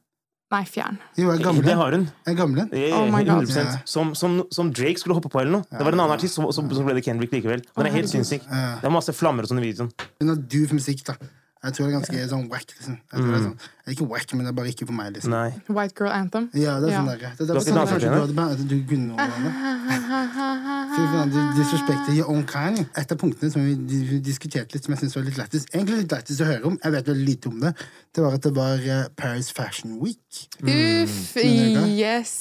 Nei, fjern. Jo, jeg er gammel. Det har hun. Jeg er gammel. Eh, Oh my God. 100%. Som, som, som Drake skulle hoppe på eller noe. Det var en annen artist som, som, som ble det Kendrick likevel. Den er helt sinnssyk. Det er masse flammer og sånn i videoen. Hun har doof musikk, da. Jeg tror det er ganske sånn wack. Liksom. Jeg tror det er sånn. Ikke wack, men det er bare ikke for meg, liksom. Mm. Nei. White Girl Anthem. Ja, det er Ja. sånn der. Det er derfor ikke sånn danset kanskje til du hadde bare- du kunne noe om det. Fy faen, du disrespekter your own kind. Et av punktene som vi di- diskuterte litt, som jeg synes var litt lættis, egentlig litt lættis å høre om, jeg vet veldig lite om det, det var at det var eh, Paris Fashion Week. Mm, Uff, yes.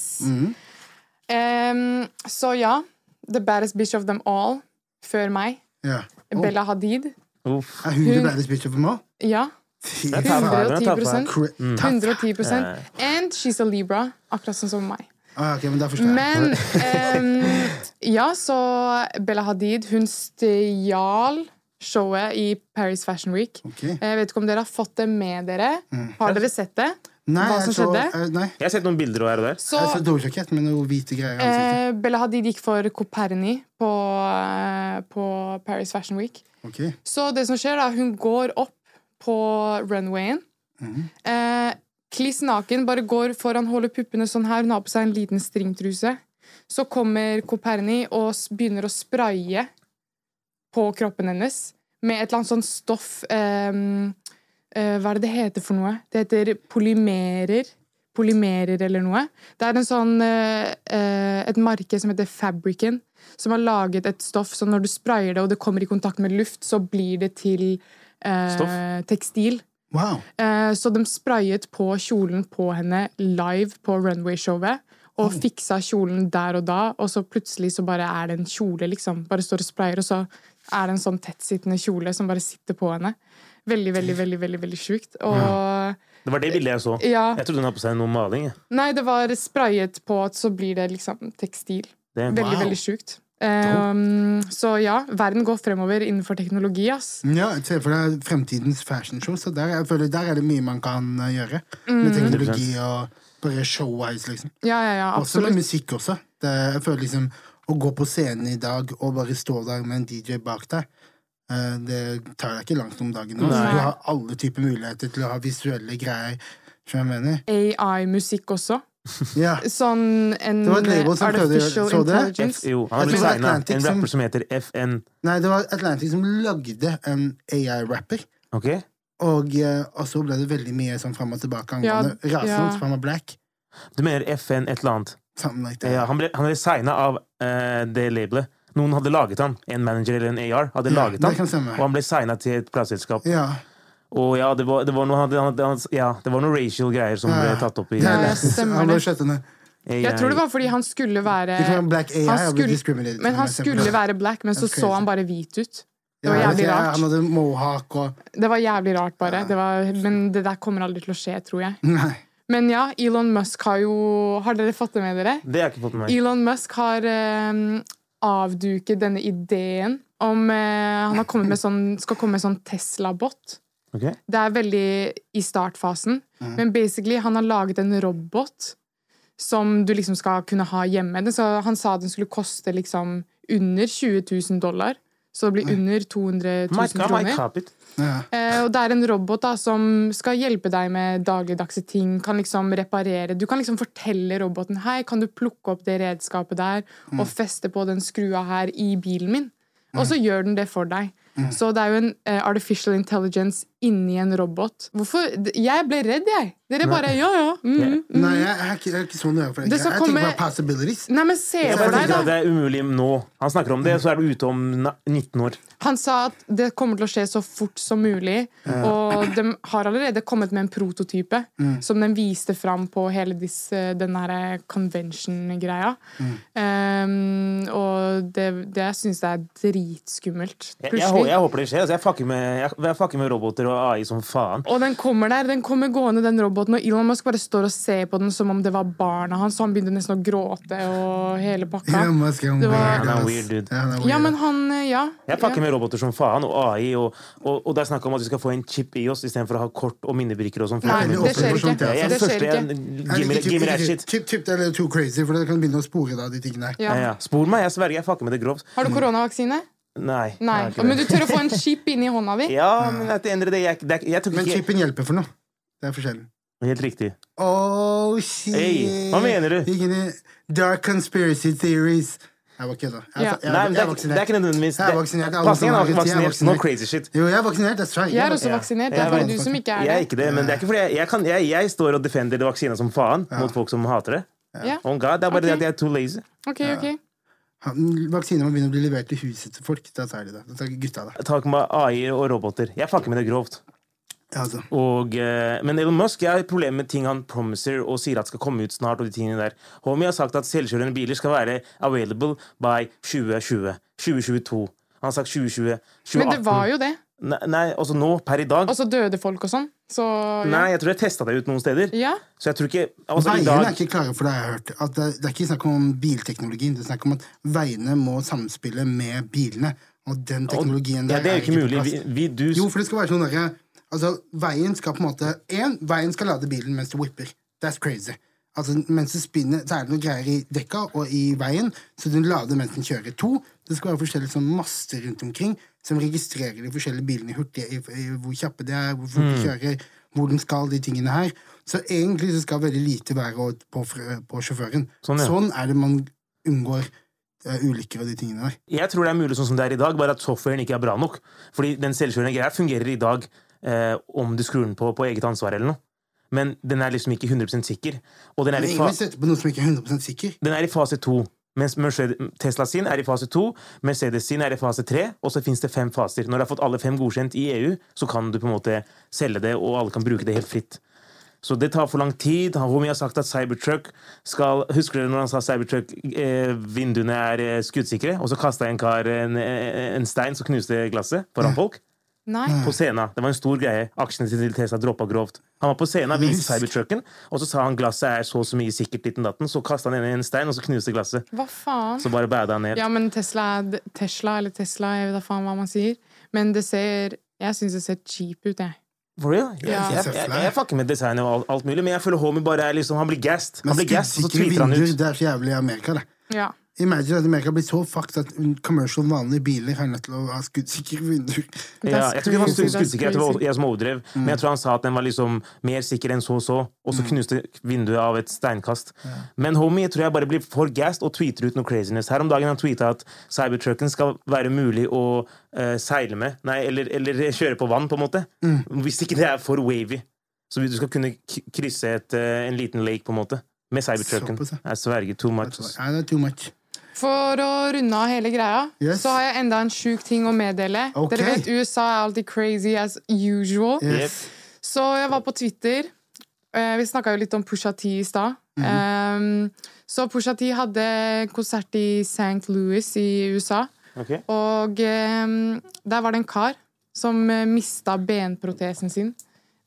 Em, så ja. The baddest bitch of them all. Før meg. Ja. Bella Hadid. Uff. Er hun the baddest bitch of them all? Ja. Fy Det er tapere, det er 110%. tapere. Cra- 110 En Mind, she's a Libra, akkurat sånn som meg. Ah, ok, men da forstår jeg. Men ehm, ja, så Bella Hadid, hun stjal showet i Paris Fashion Week. Ok. Mm. Jeg vet ikke om dere har fått det med dere. Har dere sett det? nei, Hva jeg som så, skjedde? eh, nei, Jeg har sett noen bilder her og der. Så jeg så dojakett med noen hvite greier. i ansiktet. eh, Bella Hadid gikk for Coperni på, eh, på Paris Fashion Week. Ok. Så det som skjer, da, hun går opp på runwayen. Eh, kliss naken, bare går foran, holder puppene sånn her. Hun har på seg en liten stringtruse. Så kommer Koperni og s- begynner å spraye på kroppen hennes med et eller annet sånt stoff eh, eh, Hva er det det heter for noe? Det heter polymerer. Polymerer eller noe. Det er en sånn, eh, eh, et marked som heter Fabricen, som har laget et stoff som når du sprayer det og det kommer i kontakt med luft, så blir det til eh, Stoff? tekstil. Wow. Eh, Så de sprayet på kjolen på henne live på runway-showet. Og Mm. fiksa kjolen der og da, og så plutselig så bare er det en kjole. liksom. Bare står og sprayer, og så er det en sånn tettsittende kjole som bare sitter på henne. Veldig, veldig, veldig veldig, veldig sjukt. Og Det var det bildet jeg så. Ja. Jeg trodde hun hadde på seg noe maling. jeg. Nei, det var sprayet på, at så blir det liksom tekstil. Det, Veldig, Wow. veldig sjukt. Ehm, så ja, verden går fremover innenfor teknologi, ass. Ja, jeg ser for deg fremtidens fashionshow, så der, jeg føler, der er det mye man kan eh, gjøre. Mm. Med teknologi og bare showwise, liksom. Ja, ja, ja, Også med absolutt. musikk også. Det, jeg føler liksom å gå på scenen i dag og bare stå der med en DJ bak deg, eh, det tar deg ikke langt om dagen. Altså. Du har alle typer muligheter til å ha visuelle greier. Skjønner du hva jeg mener? AI-musikk også. Ja. Sånn en Det var et label som prøvde å gjøre- artificial så det? F, intelligence. jo, Jeg han har tror det var designa Atlantic en som- rapper som heter FN. Nei, det var Atlantic som lagde en AI-rapper. Ok? Og, eh, og så ble det veldig mye sånn fram og tilbake Ja, angående rasen ja. hans, for han var black. Du mener FN et eller annet? Something like that. Ja, han ble, han ble signa av eh, det labelet. Noen hadde laget han. En manager eller en AR hadde Ja, laget det han. kan stemme. Og han ble signa til et plateselskap. Ja. Og ja, det var, det var noe, han hadde- han hadde- han- ja, det var noe racial greier som ble tatt opp i Det er Ja, det. stemmer Han ble det. skjøtt ned. AI. Jeg tror det var fordi han skulle være Det kan være black AI, han jeg blir discriminated men for han meg selv. skulle være black, men så That's så crazy. han bare hvit ut. Det Ja, var vet jævlig jeg, Han rart. hadde mohawk og Det var jævlig rart bare. Det var, men det der kommer aldri til å skje, tror jeg. Nei. Men ja, Elon Musk har jo Har dere fått det med dere? Det har jeg ikke fått med meg. Elon Musk har eh, avduket denne ideen om eh, Han har kommet med sånn, skal komme med sånn Tesla-bot. Ok? Det er veldig i startfasen. Men basically, han har laget en robot som du liksom skal kunne ha hjemme. Den skal- han sa den skulle koste liksom under 20 000 dollar. Så det blir under 200 000 Mike, Mike kroner. Hoppit. Ja. Eh, og det er en robot da, som skal hjelpe deg med dagligdagse ting. Kan liksom reparere. Du kan liksom fortelle roboten hei, kan du plukke opp det redskapet der og feste på den skrua her i bilen min. Og så gjør den det for deg. Så det er jo en eh, artificial intelligence inni en robot. Hvorfor? d- Jeg ble redd, jeg. Dere bare ja, ja. Mm. Nei, jeg jeg er ikke, jeg er ikke sånn det er for deg. Det Jeg skal tenker komme- bare possibilities. Nei, men se Jeg for bare deg, tenker da. Mm. at det er umulig nå. Han snakker om det, så er du ute om na- 19 år. Han sa at det kommer til å skje så fort som mulig. Og de har allerede kommet med en prototype som den viste fram på hele disse, den her convention-greia. Um, og det, det jeg syns jeg er dritskummelt. Jeg, jeg, hå- jeg håper det skjer. Altså, jeg, fucker med, jeg, jeg fucker med roboter og AI som faen. Og den kommer der, den kommer gående, den roboten. Og Elon Musk bare står og ser på den som om det var barna hans, og han begynte nesten å gråte og hele pakka. Elon Musk er en Det weird var- Han er ass. weird, dude. Ja, han er Ja, weird. men han eh, Ja. Jeg fucker med roboter som faen, og AI, og, og, og det er snakk om at vi skal få en chip i oss istenfor å ha kort og minnebrikker og sånn. Nei, veldig det ofte skjer ikke. for sånt, ja. Jeg er Det den skjer første. ikke. Jeg, Nei, give, me, ikke give me that typ- shit. Typ, typ, det er too crazy, for det kan begynne å spore da, de tingene der. Ja. Ja, ja. Spor meg, jeg sverger. Jeg fucker med det grovt. Har du koronavaksine? Nei. jeg Nei. har ikke Men du det. tør å få en chip inni hånda di? Ja, men at det ender i det. Jeg, det er, jeg tok Men ikke chipen hjelper for noe. Det er forskjellen. Helt riktig. Oh, shit. Hey, hva mener du? Ingen i- dark conspiracy theories. Jeg var kødda. Jeg, Ja. jeg, jeg, Nei, men det jeg er er, det er vaksinert. ikke nødvendigvis Jeg er det- vaksinert, alle Pasningen som er er vaksinert, jeg er vaksinert. No vaksinert. crazy shit. Jo, jeg er vaksinert. That's right. Jeg er er også Ja. vaksinert. Det er Jeg er bare du vaksinert. som ikke Jeg er er det. ikke det, men det er ikke fordi jeg, jeg, kan, jeg, jeg står og defender vaksina som faen mot folk som hater det. Ja. Oh God, det er bare det Ok. at jeg er too lazy. Ok, ok. vaksinert. Vaksiner må begynne å bli levert til huset til folk. Da tar de det. Da tar gutta det. Takk med AI og roboter. Jeg fucker med det grovt. Ja, altså. Og, eh, men Elon Musk jeg har et problem med ting han promiser og sier at skal komme ut snart. og de tingene der. Homie har sagt at selvkjørende biler skal være available by 2020. 2022. Han har sagt 2020. 2018. Men det var jo det. Nei, nei, altså nå, per i dag Og så døde folk og sånn. Så ja. Nei, jeg tror jeg testa det ut noen steder. ja. Så jeg tror ikke altså, i Veiene dag, er ikke klare for det, jeg har hørt. At det, det er ikke snakk om bilteknologien. Det er snakk om at veiene må samspille med bilene. Og den teknologien ja, der Det er jo ikke på mulig. Vi, plass. vi, du, Jo, for det skal være sånn derre Altså, veien skal på en måte En, veien skal lade bilen mens du whipper. That's crazy. Altså, mens du spinner, så er det noen greier i dekka og i veien, så den lader mens den kjører. To, det skal være forskjellige sånn master rundt omkring som registrerer de forskjellige bilene hurtig, i, i, hvor kjappe de er, hvor Mm. fort de kjører, hvor de skal, de tingene her. Så egentlig så skal veldig lite være å- på, frø- på sjåføren. Sånn, ja. er det man unngår eh, ulykker og de tingene der. jeg tror det er mulig sånn som det er i dag, bare at softwaren ikke er bra nok. Fordi den selvkjørende greia fungerer i dag eh, om du skrur den på på eget ansvar eller noe. Men den er liksom ikke 100 sikker. Og den er Men i ingen fa vil sette på noe som ikke er 100 sikker. den er i fase to. Mens Mercedes, Tesla sin er i fase to, Mercedes sin er i fase tre, og så fins det fem faser. Når du har fått alle fem godkjent i EU, så kan du på en måte selge det, og alle kan bruke det helt fritt. Så det tar for lang tid. Han Romy har sagt at Cybertruck skal Husker dere når han sa Cybertruck-vinduene er eh, skuddsikre? Og så kasta en kar en, eh, en stein som knuste glasset foran folk? Nei. På scenen. Det var en stor greie. Aksjene til Tesla droppa grovt. Han var på scenen, viste Husk. Cybertrucken, og så sa han glasset er så og så mye sikkert, ditten datten. Så kasta han inn en stein, og så knuste glasset. Hva faen? Så bare bada han ned. Ja, men Tesla er d- Tesla, eller Tesla, jeg vet da faen hva man sier. Men det ser Jeg syns det ser cheap ut, jeg. For real? Jeg, Ja. jeg, jeg, jeg fucker med designet og alt, alt mulig, men jeg føler homie bare er liksom Han blir gassed. Han Men blir gassed, og så skuddsikre tweeter han vinduer, ut. det er så jævlig i Amerika, det. Ja. Imagine at Amerika blir så fucked at commercial vanlige biler er nødt til å ha skuddsikre vinduer. Ja, That's jeg tror ikke han var crazy, that's skuddsikker, jeg tror det var crazy. jeg som overdrev. Men jeg tror han sa at den var liksom mer sikker enn så og så, og så knuste vinduet av et steinkast. Men homie, jeg tror jeg bare blir for gassed og tweeter ut noe craziness. Her om dagen han tweeta at cybertrucken skal være mulig å eh, seile med, nei, eller, eller kjøre på vann, på en måte. Hvis ikke det er for wavy. Så du skal kunne k krysse et, eh, en liten lake, på en måte. Med cybertrucken. Såpass, ja. Jeg sverger too much. ass. Nei, det er too much. For å runde av hele greia, Yes. så har jeg enda en sjuk ting å meddele. Ok. Dere vet USA er alltid crazy as usual. Yes. Så jeg var på Twitter. Eh, vi snakka jo litt om Pusha T i stad. Em, så Pusha T hadde konsert i St. Louis i USA. Ok. Og em, der var det en kar som eh, mista benprotesen sin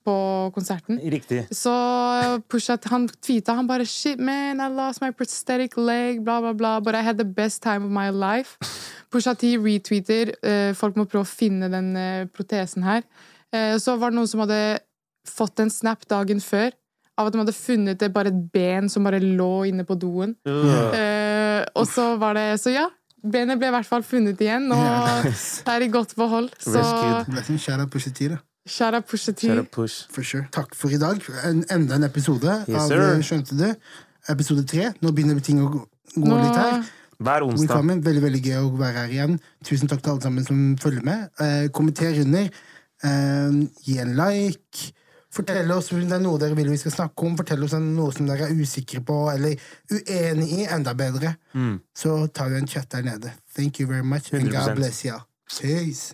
på konserten. Riktig. Så Pusha, han tweeta, han bare Shit, man, I lost my prosthetic leg, bla, bla, bla. But I had the best time of my life. Pusha T retweeter. eh, folk må prøve å finne den eh, protesen her. Eh, så var det noen som hadde fått en snap dagen før av at de hadde funnet det bare et ben som bare lå inne på doen. Øh. Eh, og så var det Så ja, benet ble i hvert fall funnet igjen, og det er i godt behold. Så Rescued. Blessing, Shout out Pusha T, da. shout out Pusha T. Shut up, push. For sure. Takk for i dag. En, enda en episode Yes, av sir. eh, Skjønte du? Episode tre. Nå begynner ting å gå, gå Nå- litt her. Hver onsdag. Velkommen. Veldig veldig gøy å være her igjen. Tusen takk til alle sammen som følger med. Eh, kommenter under. Eh, gi en like. Fortell oss om det er noe dere vil vi skal snakke om. Fortell oss om noe som dere er usikre på eller uenig i. Enda bedre. Mm. Så tar vi en chat der nede. Thank you very much. And God 100%. bless you. Peace.